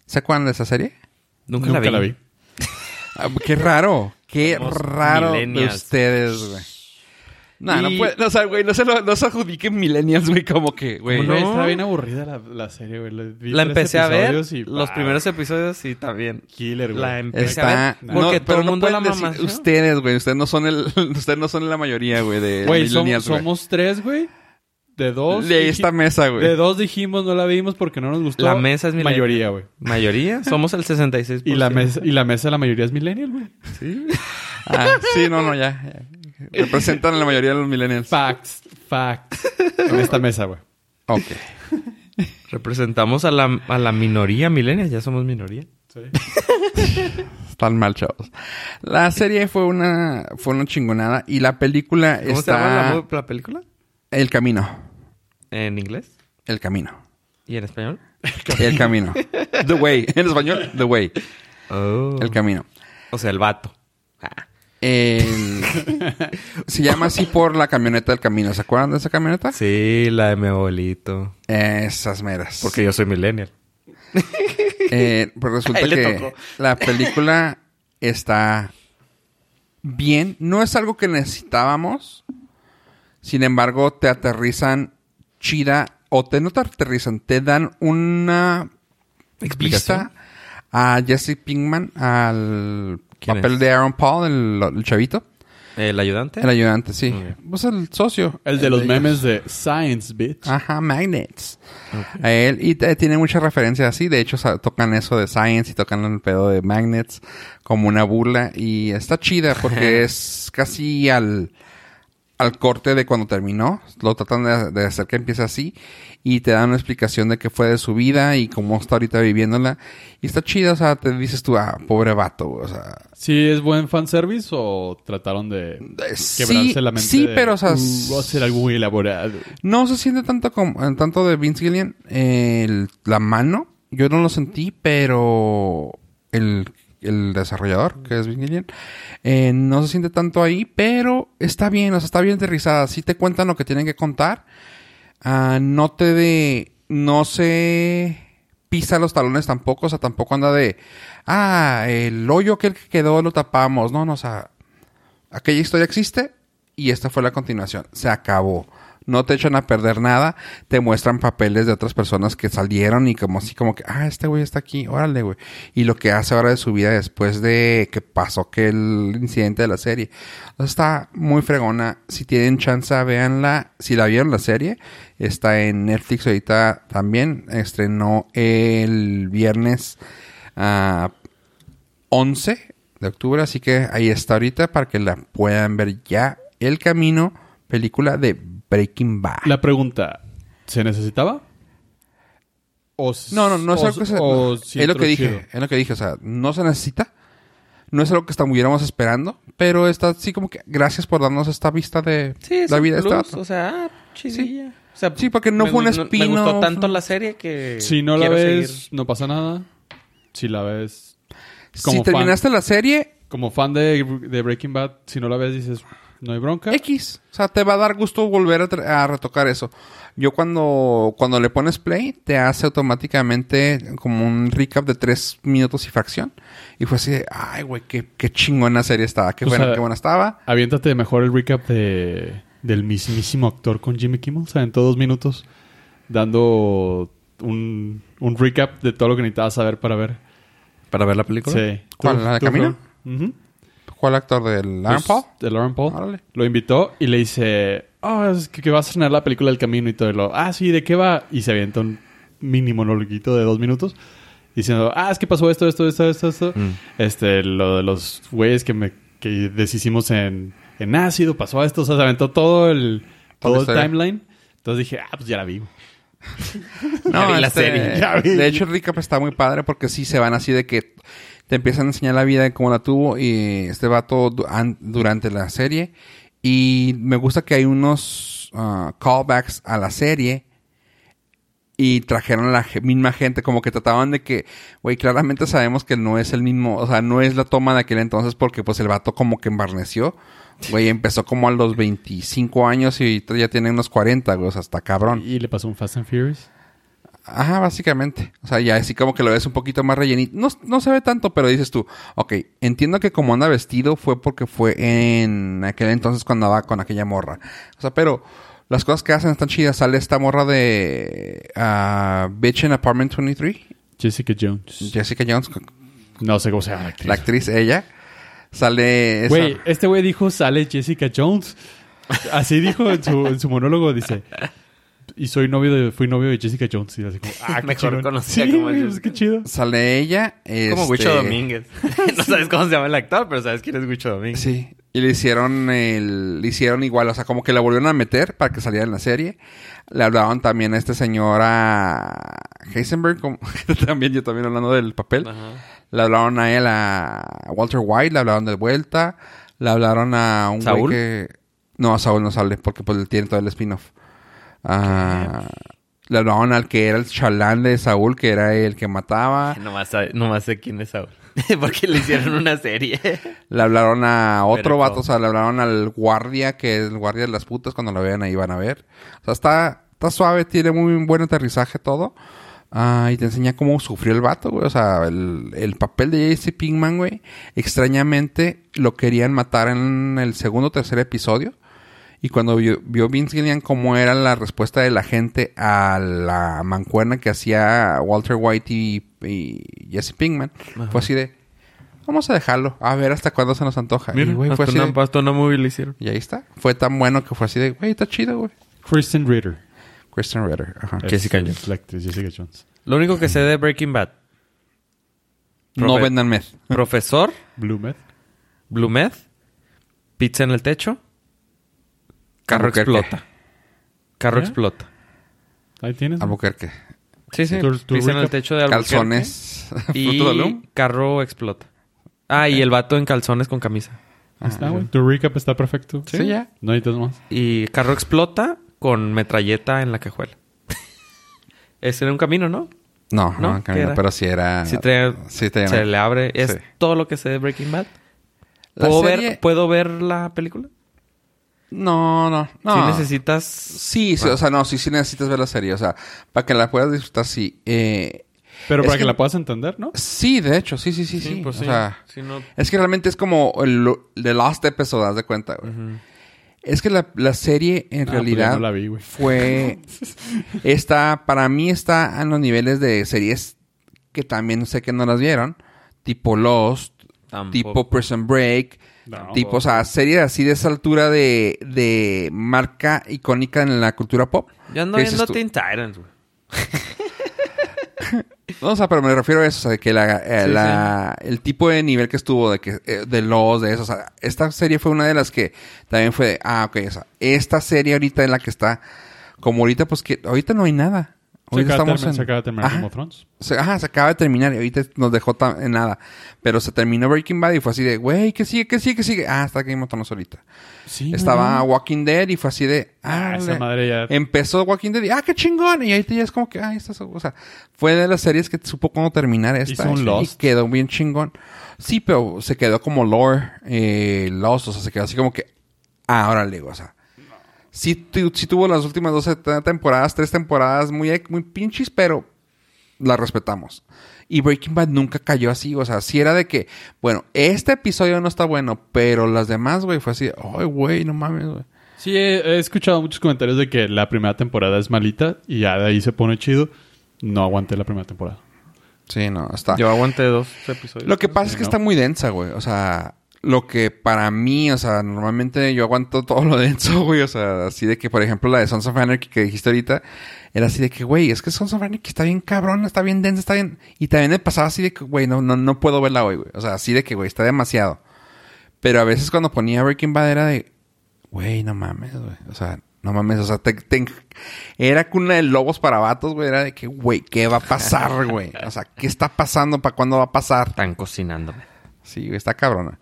Speaker 1: ¿Se acuerdan de esa serie?
Speaker 3: Nunca,
Speaker 2: Nunca
Speaker 3: la vi.
Speaker 1: Ah, qué raro. Qué
Speaker 3: Somos
Speaker 1: raro de
Speaker 3: millennials.
Speaker 1: ustedes, güey. No, no
Speaker 2: Y-
Speaker 1: puede, no, o sea, güey, no se, lo, no se adjudiquen millennials, güey, como que, güey.
Speaker 3: ¿Cómo no?
Speaker 2: Güey, Estaba bien aburrida la, la serie, güey. La, vi
Speaker 3: La
Speaker 2: tres
Speaker 3: empecé a ver.
Speaker 2: episodios y-
Speaker 3: Los
Speaker 2: ah,
Speaker 3: primeros episodios sí, también.
Speaker 2: Killer, güey.
Speaker 3: La em- empecé a
Speaker 1: Está.
Speaker 3: ver. Porque
Speaker 1: no,
Speaker 3: todo
Speaker 1: pero
Speaker 3: el
Speaker 1: no
Speaker 3: mundo la
Speaker 1: pueden
Speaker 3: mamá.
Speaker 1: decir Ustedes, güey. Ustedes no son el, ustedes no son la mayoría, güey, de
Speaker 2: Güey, somos,
Speaker 1: millennials, güey.
Speaker 2: somos tres, güey. De dos.
Speaker 1: de
Speaker 2: dij-
Speaker 1: esta mesa, güey.
Speaker 2: De dos dijimos, no la vimos porque no nos gustó.
Speaker 3: La mesa es millennial.
Speaker 2: Mayoría, güey.
Speaker 3: Mayoría. Somos el 66%.
Speaker 2: Y la, mesa, y la mesa, la mayoría es millennial, güey.
Speaker 1: Ah, sí, no, no, ya. ya. Representan a la mayoría de los millennials.
Speaker 2: Facts, facts. En esta mesa, güey.
Speaker 1: Ok.
Speaker 3: Representamos a la, a la minoría milenial. Ya somos minoría.
Speaker 1: Están mal, chavos. La serie fue una, fue una chingonada. Y la película
Speaker 3: ¿Cómo
Speaker 1: está.
Speaker 3: se llama la, mu- la película?
Speaker 1: El camino.
Speaker 3: ¿En inglés?
Speaker 1: El camino.
Speaker 3: ¿Y en español?
Speaker 1: El camino. The way. En español, the way.
Speaker 3: Oh.
Speaker 1: El camino.
Speaker 3: o sea, el vato. Ah.
Speaker 1: El- Se llama así por la camioneta del camino. ¿Se acuerdan de esa camioneta?
Speaker 3: Sí, la de mi abuelito.
Speaker 1: Esas meras.
Speaker 3: Porque yo soy millennial.
Speaker 1: Eh, pues resulta
Speaker 3: A él le
Speaker 1: que
Speaker 3: tocó.
Speaker 1: la película está bien. No es algo que necesitábamos. Sin embargo, te aterrizan chida. O te no te aterrizan, te dan una
Speaker 3: ¿Explicación?
Speaker 1: vista a Jesse Pinkman, al
Speaker 3: ¿Quién
Speaker 1: papel
Speaker 3: es?
Speaker 1: de Aaron Paul, el, el chavito.
Speaker 3: ¿El ayudante?
Speaker 1: El ayudante, sí.
Speaker 3: Ok.
Speaker 1: Pues el socio.
Speaker 2: El de los
Speaker 1: ellos.
Speaker 2: memes de Science Bitch.
Speaker 1: Ajá, Magnets. A él, y te- tiene muchas referencias así. De hecho, sa- tocan eso de Science y tocan el pedo de Magnets como una burla. Y está chida porque es casi al, al corte de cuando terminó. Lo tratan de, de hacer que empiece así. Y te dan una explicación de qué fue de su vida y cómo está ahorita viviéndola. Y está chida, o sea, te dices tú, ah, pobre vato, o sea.
Speaker 2: ¿Sí es buen fanservice o trataron de
Speaker 1: eh,
Speaker 2: quebrarse
Speaker 1: Sí,
Speaker 2: la mente?
Speaker 1: sí,
Speaker 2: de,
Speaker 1: pero o sea,
Speaker 2: "Uh, hacer algo muy elaborado.
Speaker 1: No se siente tanto como en tanto de Vince Gillian el- la mano. Yo no lo sentí, pero el, el desarrollador, que es Vince Gillian, eh, no se siente tanto ahí, pero está bien, o sea, está bien aterrizada. Sí te cuentan lo que tienen que contar. Ah, no te de. No se pisa los talones tampoco, o sea, tampoco anda de. Ah, el hoyo que quedó lo tapamos. No, no, o sea aquella historia existe y esta fue la continuación. Se acabó. No te echan a perder nada, te muestran papeles de otras personas que salieron y como así como que, ah, este güey está aquí, órale, güey. Y lo que hace ahora de su vida después de que pasó aquel incidente de la serie. Entonces, está muy fregona. Si tienen chance, véanla. Si la vieron la serie, está en Netflix ahorita también. Estrenó el viernes ah, 11 de octubre, así que ahí está ahorita para que la puedan ver ya. El Camino, película de Breaking Bad.
Speaker 2: La pregunta, ¿se necesitaba? O s-
Speaker 1: No, no, no es
Speaker 2: o-
Speaker 1: algo que se-
Speaker 2: o sí
Speaker 1: es lo que
Speaker 2: entró
Speaker 1: dije,
Speaker 2: chido?
Speaker 1: es lo que dije, o sea, no se necesita. No es algo que estuviéramos esperando, pero está así como que gracias por darnos esta vista de
Speaker 3: Sí, es
Speaker 1: la
Speaker 3: un
Speaker 1: vida de este
Speaker 3: plus,
Speaker 1: vato.
Speaker 3: O sea, ah, chidilla. O sea,
Speaker 1: Sí, porque no
Speaker 3: me-
Speaker 1: fue un
Speaker 3: me-
Speaker 1: spin-off.
Speaker 3: Me gustó tanto la serie que.
Speaker 2: Si no la
Speaker 3: quiero
Speaker 2: ves,
Speaker 3: seguir.
Speaker 2: no pasa nada. Si la ves...
Speaker 1: Si
Speaker 2: como fan.
Speaker 1: terminaste la serie,
Speaker 2: Como fan de, de Breaking Bad, si no la ves dices, no hay bronca.
Speaker 1: X. O sea, te va a dar gusto volver a, tra- a retocar eso. Yo cuando, cuando le pones play, te hace automáticamente como un recap de tres minutos y fracción. Y fue así de, ay, güey, qué, qué chingona serie estaba. Qué
Speaker 2: O
Speaker 1: buena,
Speaker 2: sea,
Speaker 1: qué buena estaba.
Speaker 2: Aviéntate mejor el recap de, del mismísimo actor con Jimmy Kimmel. O sea, en todos minutos dando un, un recap de todo lo que necesitabas saber para ver.
Speaker 3: ¿Para ver la película?
Speaker 2: Sí.
Speaker 1: ¿Cuál, la de Camino?
Speaker 2: Fran? Ujú.
Speaker 1: ¿Cuál actor del Aaron Paul?
Speaker 2: Pues, De Lauren Paul.
Speaker 1: Órale.
Speaker 2: Lo invitó y le dice, oh, es que, que va a estrenar la película El Camino y todo. Y lo, ah, sí, ¿de qué va? Y se avienta un mini monologuito de dos minutos diciendo, ah, es que pasó esto, esto, esto, esto, esto.
Speaker 3: Mm.
Speaker 2: Este, lo de los güeyes que, me, que deshicimos en, en ácido, pasó esto. O sea, se aventó todo el,
Speaker 1: Toda
Speaker 2: todo
Speaker 1: la
Speaker 2: el
Speaker 1: historia.
Speaker 2: timeline. Entonces dije, ah, pues ya la vi.
Speaker 3: Ya vi la serie,
Speaker 2: este, ya vi.
Speaker 1: De hecho, el recap está muy padre porque sí se van así de que te empiezan a enseñar la vida de cómo la tuvo y este vato du- an- durante la serie. Y me gusta que hay unos ah, callbacks a la serie. Y trajeron a la ge- misma gente, como que trataban de que, güey, claramente sabemos que no es el mismo, o sea, no es la toma de aquel entonces porque pues el vato como que embarneció, güey, empezó como a los 25 años y ahorita ya tiene unos 40, güey, o sea, está cabrón.
Speaker 2: Y le pasó un Fast and Furious.
Speaker 1: Ajá, básicamente. O sea, ya así como que lo ves un poquito más rellenito. No, no se ve tanto, pero dices tú, ok, entiendo que como anda vestido fue porque fue en aquel entonces cuando andaba con aquella morra. O sea, pero las cosas que hacen están chidas. Sale esta morra de ah, Bitch in Apartment 23,
Speaker 2: Jessica Jones.
Speaker 1: Jessica Jones,
Speaker 2: No sé cómo se llama la actriz.
Speaker 1: la actriz, ella. Sale... esa-
Speaker 2: Güey, este güey dijo, sale Jessica Jones. Así dijo en su, en su monólogo, dice. Y soy novio de, fui novio de Jessica Jones. Y así como, ah, qué
Speaker 3: Mejor
Speaker 2: chingón.
Speaker 3: conocida
Speaker 2: Sí,
Speaker 3: como
Speaker 2: güey,
Speaker 3: Jessica
Speaker 2: es que chido.
Speaker 1: Sale ella.
Speaker 3: Como
Speaker 1: este,
Speaker 3: Guicho Domínguez. no sabes cómo se llama el actor, pero sabes quién es Guicho Domínguez.
Speaker 1: Sí. Y le hicieron el, le hicieron igual, o sea, como que la volvieron a meter para que saliera en la serie. Le hablaban también a esta señora Heisenberg, como también yo también hablando del papel.
Speaker 3: Ajá.
Speaker 1: Le hablaron a él a Walter White, le hablaron de vuelta, le hablaron a un güey
Speaker 3: ¿Saúl?
Speaker 1: que no a Saúl no sale porque pues le tiene todo el spin-off. Ah, La daban al que era el chalán de Saúl, que era el que mataba.
Speaker 3: Ah. Nomás, sabe- nomás sé quién es ahora. Porque le hicieron una serie.
Speaker 1: Le hablaron a otro
Speaker 3: Pero-
Speaker 1: vato, o sea, le hablaron al guardia, que es el guardia de las putas, cuando lo vean ahí van a ver. O sea, está, está suave, tiene muy buen aterrizaje todo. Ah, y te enseña cómo sufrió el vato, güey. O sea, el, el papel de J.C. Pinkman, güey, extrañamente lo querían matar en el segundo o tercer episodio. Y cuando vio, vio Vince Gillian cómo era la respuesta de la gente a la mancuerna que hacía Walter White y, y Jesse Pinkman, fue así de, vamos a dejarlo, a ver hasta cuándo se nos antoja.
Speaker 2: Mira,
Speaker 1: y, güey, fue
Speaker 3: hasta,
Speaker 1: así
Speaker 3: una,
Speaker 1: de-
Speaker 3: hasta una movie le hicieron.
Speaker 1: y ahí está. Fue tan bueno que fue así de, güey, está chido, güey.
Speaker 2: Kristen Ritter.
Speaker 1: Kristen Ritter. Ajá.
Speaker 3: ¿Qué? Jessica
Speaker 2: Es-
Speaker 3: Jones.
Speaker 2: es La actriz Jessica Jones.
Speaker 3: Lo único que sé de Breaking Bad.
Speaker 1: No
Speaker 3: Profe-
Speaker 1: vendan meth.
Speaker 3: Profesor,
Speaker 2: Blue Meth.
Speaker 3: Blue Meth, Pizza en el techo, Carro
Speaker 1: Albuquerque.
Speaker 3: explota. Carro
Speaker 2: ¿Ya?
Speaker 3: explota.
Speaker 2: Ahí tienes. ¿no?
Speaker 1: Albuquerque.
Speaker 3: Sí, sí.
Speaker 2: ¿Tu- tu
Speaker 3: Pizza en el
Speaker 2: recap?
Speaker 3: techo de Albuquerque.
Speaker 1: Calzones. Fruto de
Speaker 3: Y
Speaker 1: loom.
Speaker 3: carro explota. Ah, y el vato en calzones con camisa.
Speaker 2: Ahí está, güey. Tu recap está perfecto.
Speaker 1: Ah, Sí, Sí, ya.
Speaker 2: No necesitas más.
Speaker 3: Y carro explota con metralleta en la cajuela. Ese era un camino, ¿no?
Speaker 1: No, no,
Speaker 3: ¿No?
Speaker 1: en camino,
Speaker 3: ¿Qué era?
Speaker 1: pero sí era...
Speaker 3: Si trae-
Speaker 1: Ah, sí traía-
Speaker 3: se le abre. Es
Speaker 1: Sí.
Speaker 3: todo lo que sé de Breaking Bad.
Speaker 1: La
Speaker 3: ¿Puedo,
Speaker 1: serie-
Speaker 3: ver, ¿puedo ver la película?
Speaker 1: No, no, no.
Speaker 3: Si necesitas.
Speaker 1: Sí, sí, o sea, no, sí, sí necesitas ver la serie, o sea, para que la puedas disfrutar, sí. Eh,
Speaker 2: Pero
Speaker 1: Es
Speaker 2: para que...
Speaker 1: que-
Speaker 2: la puedas entender, ¿no?
Speaker 1: sí, de hecho, sí, sí, sí, sí.
Speaker 2: pues
Speaker 1: o sea,
Speaker 3: pues Si no-
Speaker 1: es que realmente es como el The Last Episode, haz de cuenta, güey. Es que la, la serie en
Speaker 2: Ah, pues
Speaker 1: realidad
Speaker 2: ya no la vi, güey.
Speaker 1: fue. está, para mí está en los niveles de series que también sé que no las vieron, tipo Lost,
Speaker 3: Tampoco.
Speaker 1: tipo Prison Break,
Speaker 2: Mm, No.
Speaker 1: tipo, o sea, series así de esa altura de, de marca icónica en la cultura pop.
Speaker 3: Yo ando
Speaker 1: ¿Qué dices
Speaker 3: viendo
Speaker 1: tú?
Speaker 3: Teen Titans, güey.
Speaker 1: No, o sea, pero me refiero a eso, o sea, que la, eh,
Speaker 3: Sí,
Speaker 1: la- el tipo de nivel que estuvo, de que eh, de los, de eso, o sea, esta serie fue una de las que también fue de, ah, ok, o sea, esta serie ahorita en la que está, como ahorita, pues que ahorita no hay nada.
Speaker 2: Se
Speaker 1: Ahorita
Speaker 2: acaba, de
Speaker 1: estamos
Speaker 2: terminar-
Speaker 1: en-
Speaker 2: se acaba de terminar
Speaker 1: Ajá.
Speaker 2: Game of Thrones.
Speaker 1: Se, ajá, se acaba de terminar y ahorita nos dejó ta- en nada. Pero se terminó Breaking Bad y fue así de, güey, ¿qué sigue, qué sigue, qué sigue? Ah, está Game of Thrones ahorita.
Speaker 2: Sí.
Speaker 1: Estaba Walking Dead y fue así de, ah,
Speaker 2: Ah, esa
Speaker 1: le-
Speaker 2: madre ya.
Speaker 1: Empezó Walking Dead y ¡ah, qué chingón! Y ahí te ya es como que, ¡ay, esta es- O sea, fue de las series que supo cómo terminar esta.
Speaker 2: Hizo un
Speaker 1: y- Y
Speaker 2: Lost.
Speaker 1: quedó bien chingón. Sí, pero se quedó como lore, eh, Lost, o sea, se quedó así como que, ah, órale, o sea. Sí, tu- sí tuvo las últimas dos te- temporadas, tres temporadas muy, ex- muy pinches, pero la respetamos. Y Breaking Bad nunca cayó así, o sea, sí era de que, bueno, este episodio no está bueno, pero las demás, güey, fue así, ay, güey, no mames, güey.
Speaker 2: Sí, he, he escuchado muchos comentarios de que la primera temporada es malita y ya de ahí se pone chido. No aguanté la primera temporada.
Speaker 1: Sí, no, está.
Speaker 3: Yo aguanté dos episodios.
Speaker 1: Lo que pasa es que
Speaker 2: ¿no?
Speaker 1: está muy densa, güey. O sea, lo que para mí, o sea, normalmente yo aguanto todo lo denso, güey. O sea, así de que, por ejemplo, la de Sons of Anarchy que dijiste ahorita, era así de que, güey, es que Sons of Anarchy está bien cabrón, está bien densa, está bien. Y también me pasaba así de que, güey, no, no, no puedo verla hoy, güey. O sea, así de que, güey, está demasiado. Pero a veces cuando ponía Breaking Bad era de, güey, no mames, güey. O sea, no mames, o sea, te, te- era cuna de lobos para vatos, güey. Era de que, güey, ¿qué va a pasar, güey? O sea, ¿qué está pasando? ¿Para cuándo va a pasar?
Speaker 3: Están cocinándome.
Speaker 1: Sí, está cabrona.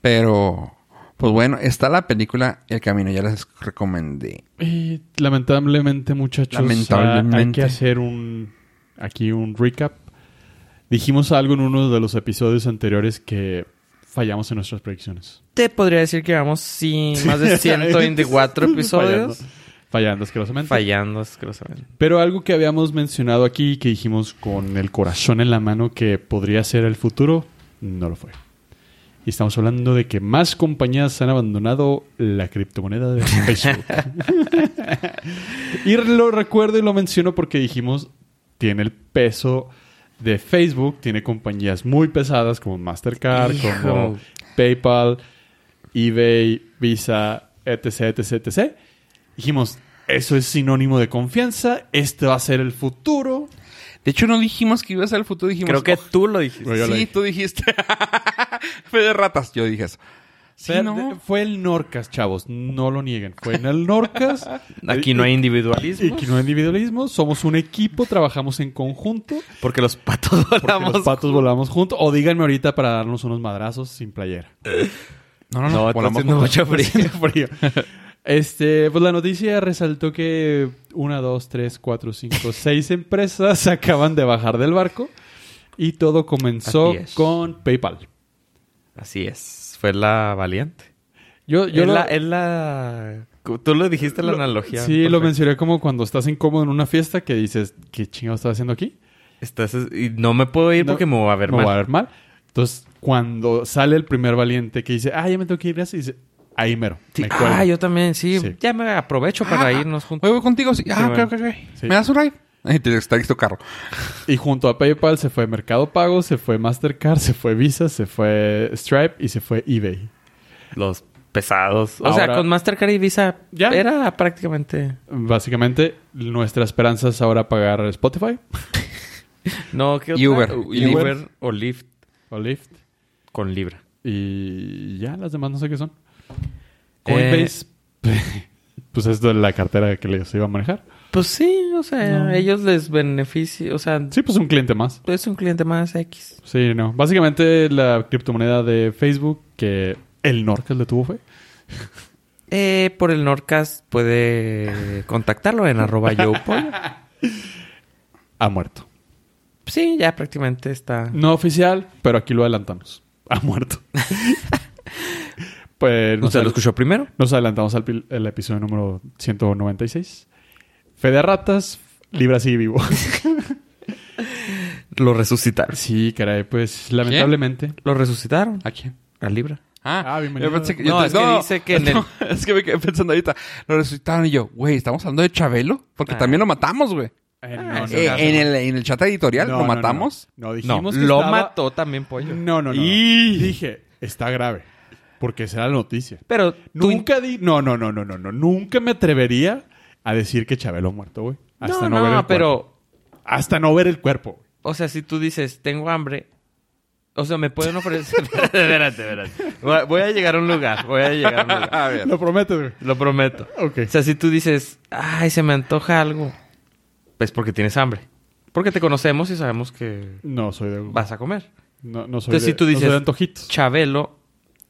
Speaker 1: Pero, pues bueno, está la película El Camino, ya les recomendé.
Speaker 2: Y lamentablemente, muchachos,
Speaker 1: Lamentablemente.
Speaker 2: ah, hay que hacer un aquí un recap. Dijimos algo en uno de los episodios anteriores que fallamos en nuestras predicciones.
Speaker 3: Te podría decir que vamos sin más de 124
Speaker 2: Fallando,
Speaker 3: episodios.
Speaker 2: fallando asquerosamente.
Speaker 3: Fallando, asquerosamente.
Speaker 2: Pero algo que habíamos mencionado aquí que dijimos con el corazón en la mano que podría ser el futuro, no lo fue. Y estamos hablando de que más compañías han abandonado la criptomoneda de Facebook. y lo recuerdo y lo menciono porque dijimos, tiene el peso de Facebook, tiene compañías muy pesadas como Mastercard,
Speaker 3: Hijo.
Speaker 2: como PayPal, eBay, Visa, etc, etc, etc. Dijimos, eso es sinónimo de confianza, este va a ser el futuro.
Speaker 1: De hecho, no dijimos que iba a ser el futuro, dijimos...
Speaker 3: Creo que
Speaker 1: "Oh,
Speaker 3: tú lo dijiste.
Speaker 2: Yo lo
Speaker 1: sí,
Speaker 2: dije.
Speaker 1: tú dijiste. Fue de ratas, yo dije eso. Sí,
Speaker 2: Fer-
Speaker 1: no.
Speaker 2: Fue el Norcas, chavos, no lo nieguen. Fue en el Norcas.
Speaker 3: Aquí no hay
Speaker 2: Y
Speaker 3: individualismo.
Speaker 2: que no hay individualismo, somos un equipo, trabajamos en conjunto,
Speaker 3: Porque los patos
Speaker 2: porque
Speaker 3: volamos.
Speaker 2: los patos volamos juntos. O díganme ahorita para darnos unos madrazos sin playera.
Speaker 1: No, no,
Speaker 3: No,
Speaker 1: no.
Speaker 3: está
Speaker 1: volamos
Speaker 3: haciendo
Speaker 1: juntos.
Speaker 3: mucho frío.
Speaker 2: Frío. Este, pues la noticia resaltó que una, dos, tres, cuatro, cinco, seis empresas acaban de bajar del barco y todo comenzó
Speaker 3: Así es.
Speaker 2: con PayPal.
Speaker 3: Así es. Fue la valiente.
Speaker 2: Yo, yo
Speaker 3: es,
Speaker 2: lo-
Speaker 3: la, es la- Tú lo dijiste la
Speaker 2: lo-
Speaker 3: analogía.
Speaker 2: Sí, lo
Speaker 3: perfecta.
Speaker 2: mencioné como cuando estás incómodo en una fiesta que dices, ¿qué chingado estás haciendo aquí?
Speaker 3: Estás... Y no me puedo ir
Speaker 2: No,
Speaker 3: porque me voy a ver
Speaker 2: me
Speaker 3: mal.
Speaker 2: voy a ver mal. Entonces, cuando sale el primer valiente que dice, ah, ya me tengo que ir, gracias, dice, ahí mero.
Speaker 3: Sí,
Speaker 2: me cuelgo".
Speaker 3: Ah, yo también, sí.
Speaker 2: Sí.
Speaker 3: Ya me aprovecho para
Speaker 1: Ah,
Speaker 3: irnos juntos.
Speaker 1: Oye, voy contigo. Sí. Ah,
Speaker 3: bueno.
Speaker 1: ok, ok, ok.
Speaker 2: Sí.
Speaker 1: ¿Me das un ride? Ahí te está listo carro.
Speaker 2: Y junto a PayPal se fue Mercado Pago, se fue Mastercard, se fue Visa, se fue Stripe y se fue eBay.
Speaker 3: Los pesados. O sea,
Speaker 2: ah. Ahora-
Speaker 3: con Mastercard y Visa
Speaker 2: Ya.
Speaker 3: era prácticamente...
Speaker 2: Básicamente, nuestra esperanza es ahora pagar Spotify
Speaker 3: No, ¿qué
Speaker 1: Y
Speaker 3: otra?
Speaker 1: Uber.
Speaker 3: Y
Speaker 2: Y
Speaker 3: Uber.
Speaker 2: Lyft.
Speaker 3: o Lyft
Speaker 2: o Lyft.
Speaker 3: con Libra.
Speaker 2: Y ya, las demás no sé qué son.
Speaker 3: Eh,
Speaker 2: Coinbase, pues es de la cartera que les iba a manejar.
Speaker 3: Pues sí, o sea,
Speaker 2: No.
Speaker 3: ellos les beneficia. O sea,
Speaker 2: Sí, pues un cliente más.
Speaker 3: es un cliente más X.
Speaker 2: Sí, no. Básicamente la criptomoneda de Facebook que el Norcas le tuvo fue.
Speaker 3: Eh, por el Norcast puede contactarlo en arroba yo pollo.
Speaker 2: Ha muerto.
Speaker 3: Sí, ya prácticamente está.
Speaker 2: No oficial, pero aquí lo adelantamos. Ha muerto. pues
Speaker 3: ¿No
Speaker 2: nos,
Speaker 3: se lo
Speaker 2: adel-
Speaker 3: escuchó primero?
Speaker 2: nos adelantamos al pil- el episodio número 196. Fede Ratas, Libra sigue vivo.
Speaker 3: Lo resucitaron.
Speaker 2: sí, caray, pues lamentablemente.
Speaker 3: Lo resucitaron
Speaker 1: ¿A quién?
Speaker 3: a Libra.
Speaker 1: Ah,
Speaker 2: Ah, bienvenido.
Speaker 1: yo pensé que-
Speaker 3: No,
Speaker 1: yo te-
Speaker 3: es que dice que en el-
Speaker 1: no, Es que me quedé pensando ahorita. Lo resucitaron y yo, güey, ¿estamos hablando de Chabelo? Porque
Speaker 3: Ah.
Speaker 1: también lo matamos, güey.
Speaker 2: Eh,
Speaker 3: Ah,
Speaker 1: Eh,
Speaker 3: no,
Speaker 1: en, el, en el chat editorial lo
Speaker 2: No, no, no.
Speaker 1: matamos.
Speaker 2: No,
Speaker 3: No,
Speaker 2: dijimos que
Speaker 3: lo
Speaker 2: estaba-
Speaker 3: mató también pollo.
Speaker 2: No, no, no.
Speaker 3: Y-
Speaker 2: Dije, está grave. Porque será la noticia.
Speaker 3: Pero tú...
Speaker 2: Nunca di... No, no, no, no, no, no. Nunca me atrevería a decir que Chabelo ha muerto, güey. Hasta
Speaker 3: No,
Speaker 2: no,
Speaker 3: no,
Speaker 2: ver el cuerpo.
Speaker 3: pero...
Speaker 2: Hasta no ver el cuerpo. güey.
Speaker 3: O sea, si tú dices, tengo hambre... O sea, me pueden ofrecer... espérate, espérate, espérate. Ah. Voy a- Voy a llegar a un lugar. Voy a llegar a un lugar.
Speaker 1: A ver.
Speaker 2: Lo prometo, güey.
Speaker 3: Lo prometo.
Speaker 2: Ok.
Speaker 3: O sea, si tú dices, ay, se me antoja algo, pues porque tienes hambre. Porque te conocemos y sabemos que
Speaker 2: No soy de...
Speaker 3: vas a comer.
Speaker 2: No, no soy
Speaker 3: Entonces,
Speaker 2: de...
Speaker 3: si tú
Speaker 2: no soy
Speaker 3: dices,
Speaker 2: de antojitos.
Speaker 3: Chabelo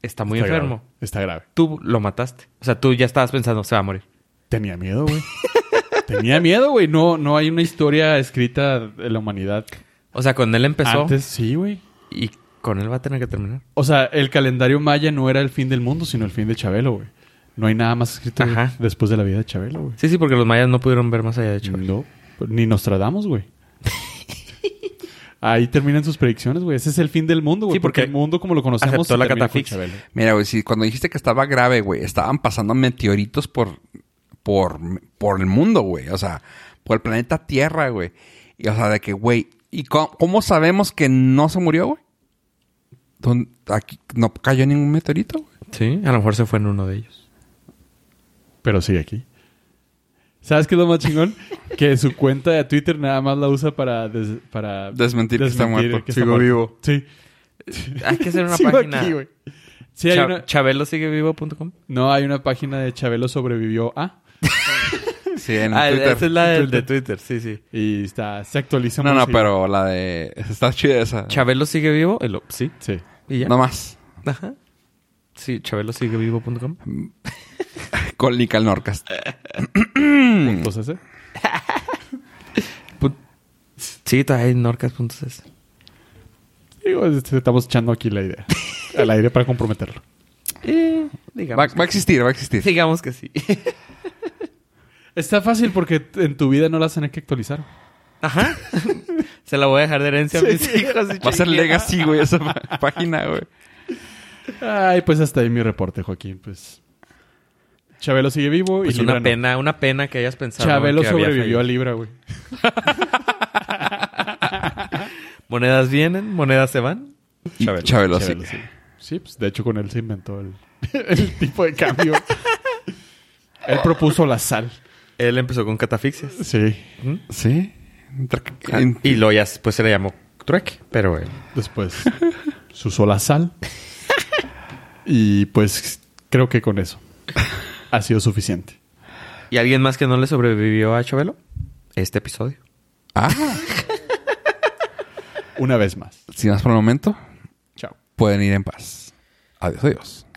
Speaker 3: está muy
Speaker 2: Está grave.
Speaker 3: enfermo.
Speaker 2: Está grave.
Speaker 3: Tú lo mataste. O sea, tú ya estabas pensando, se va a morir.
Speaker 2: Tenía miedo, güey. Tenía miedo, güey. No, no hay una historia escrita de la humanidad.
Speaker 3: O sea, con él empezó
Speaker 2: Antes sí, güey.
Speaker 3: y con él va a tener que terminar.
Speaker 2: O sea, el calendario maya no era el fin del mundo, sino el fin de Chabelo, güey. No hay nada más escrito güey,
Speaker 3: Ajá.
Speaker 2: después de la vida de Chabelo, güey.
Speaker 3: Sí, sí, porque los mayas no pudieron ver más allá
Speaker 1: Este
Speaker 3: de
Speaker 2: No,
Speaker 3: Chabelo.
Speaker 2: ni nos tratamos, güey. Ahí terminan sus predicciones, güey. Ese es el fin del mundo, güey.
Speaker 3: Sí, porque
Speaker 2: porque, el mundo como lo conocemos
Speaker 3: aceptó
Speaker 2: se
Speaker 3: la
Speaker 2: termina
Speaker 3: catafixia.
Speaker 2: con Chabelo.
Speaker 1: Mira, güey, si cuando dijiste que estaba grave, güey, estaban pasando meteoritos por, por, por el mundo, güey. O sea, por el planeta Tierra, güey. Y, o sea, de que, güey, ¿y cómo, cómo sabemos que no se murió, güey? ¿Dónde- Aquí no cayó ningún meteorito, güey.
Speaker 3: Sí, a lo mejor se fue en uno de ellos.
Speaker 2: Pero sigue aquí. ¿Sabes qué es lo más chingón? que su cuenta de Twitter nada más la usa para... des- para
Speaker 1: Desmentir que está muerto.
Speaker 2: que está
Speaker 1: Sigo
Speaker 2: muerto. Sí.
Speaker 3: Hay que hacer una
Speaker 2: Sigo
Speaker 3: página.
Speaker 2: aquí, güey. Sí, hay
Speaker 3: Cha-
Speaker 2: una...
Speaker 3: ChabeloSigueVivo.com.
Speaker 2: No, hay una página de Chabelo sobrevivió a...
Speaker 1: Sí, en
Speaker 3: Ah,
Speaker 1: Twitter.
Speaker 3: esa es la del- de
Speaker 2: Twitter.
Speaker 3: Twitter, sí, sí.
Speaker 2: Y está... Se actualiza
Speaker 1: No,
Speaker 2: muy
Speaker 1: no,
Speaker 2: seguido.
Speaker 1: pero la de... Está chida esa.
Speaker 3: Ah. Chabelo sigue vivo, y lo- sí.
Speaker 2: Sí.
Speaker 3: Y ya.
Speaker 1: No más.
Speaker 3: Ajá. Sí, chabelosiguevivo.com.
Speaker 1: Con Nical Norcas. Hmm.
Speaker 2: Pues ese.
Speaker 3: Put- Sí, todavía hay norcas.es.
Speaker 2: Digo, este, estamos echando aquí la idea. Al aire para comprometerlo.
Speaker 3: Eh,
Speaker 1: Va,
Speaker 3: digamos,
Speaker 1: va a existir, va a existir.
Speaker 3: digamos que sí.
Speaker 2: Está fácil porque t- en tu vida no las tenés que actualizar.
Speaker 3: Ajá. Se la voy a dejar de herencia a mis hijos. y
Speaker 1: Va a ser
Speaker 3: chiquilla.
Speaker 1: Legacy, güey, esa pa- página, güey.
Speaker 2: Ay, pues hasta ahí mi reporte, Joaquín. Pues Chabelo sigue vivo
Speaker 3: Pues
Speaker 2: y
Speaker 3: una
Speaker 2: Libra no.
Speaker 3: pena, una pena que hayas pensado.
Speaker 2: Chabelo
Speaker 3: que había
Speaker 2: sobrevivió a
Speaker 3: fallido.
Speaker 2: Libra, güey.
Speaker 3: Monedas vienen, monedas se van.
Speaker 1: Y
Speaker 3: Chabelo.
Speaker 1: Chabelo, sí.
Speaker 2: Chabelo sí. Sí, pues de hecho con él se inventó el, el tipo de cambio. él propuso la sal.
Speaker 3: Él empezó con catafixias.
Speaker 2: Sí.
Speaker 1: ¿Sí? Entra-
Speaker 3: Ah,
Speaker 1: en-
Speaker 3: Y lo ya después se le llamó trueque. Pero eh,
Speaker 2: Después se usó la sal. Y pues creo que con eso ha sido suficiente.
Speaker 3: ¿Y alguien más que no le sobrevivió a Chabelo? Este episodio.
Speaker 1: Ah,
Speaker 2: Una vez más.
Speaker 1: sin más por el momento,
Speaker 2: Chao.
Speaker 1: pueden ir en paz. Adiós, adiós.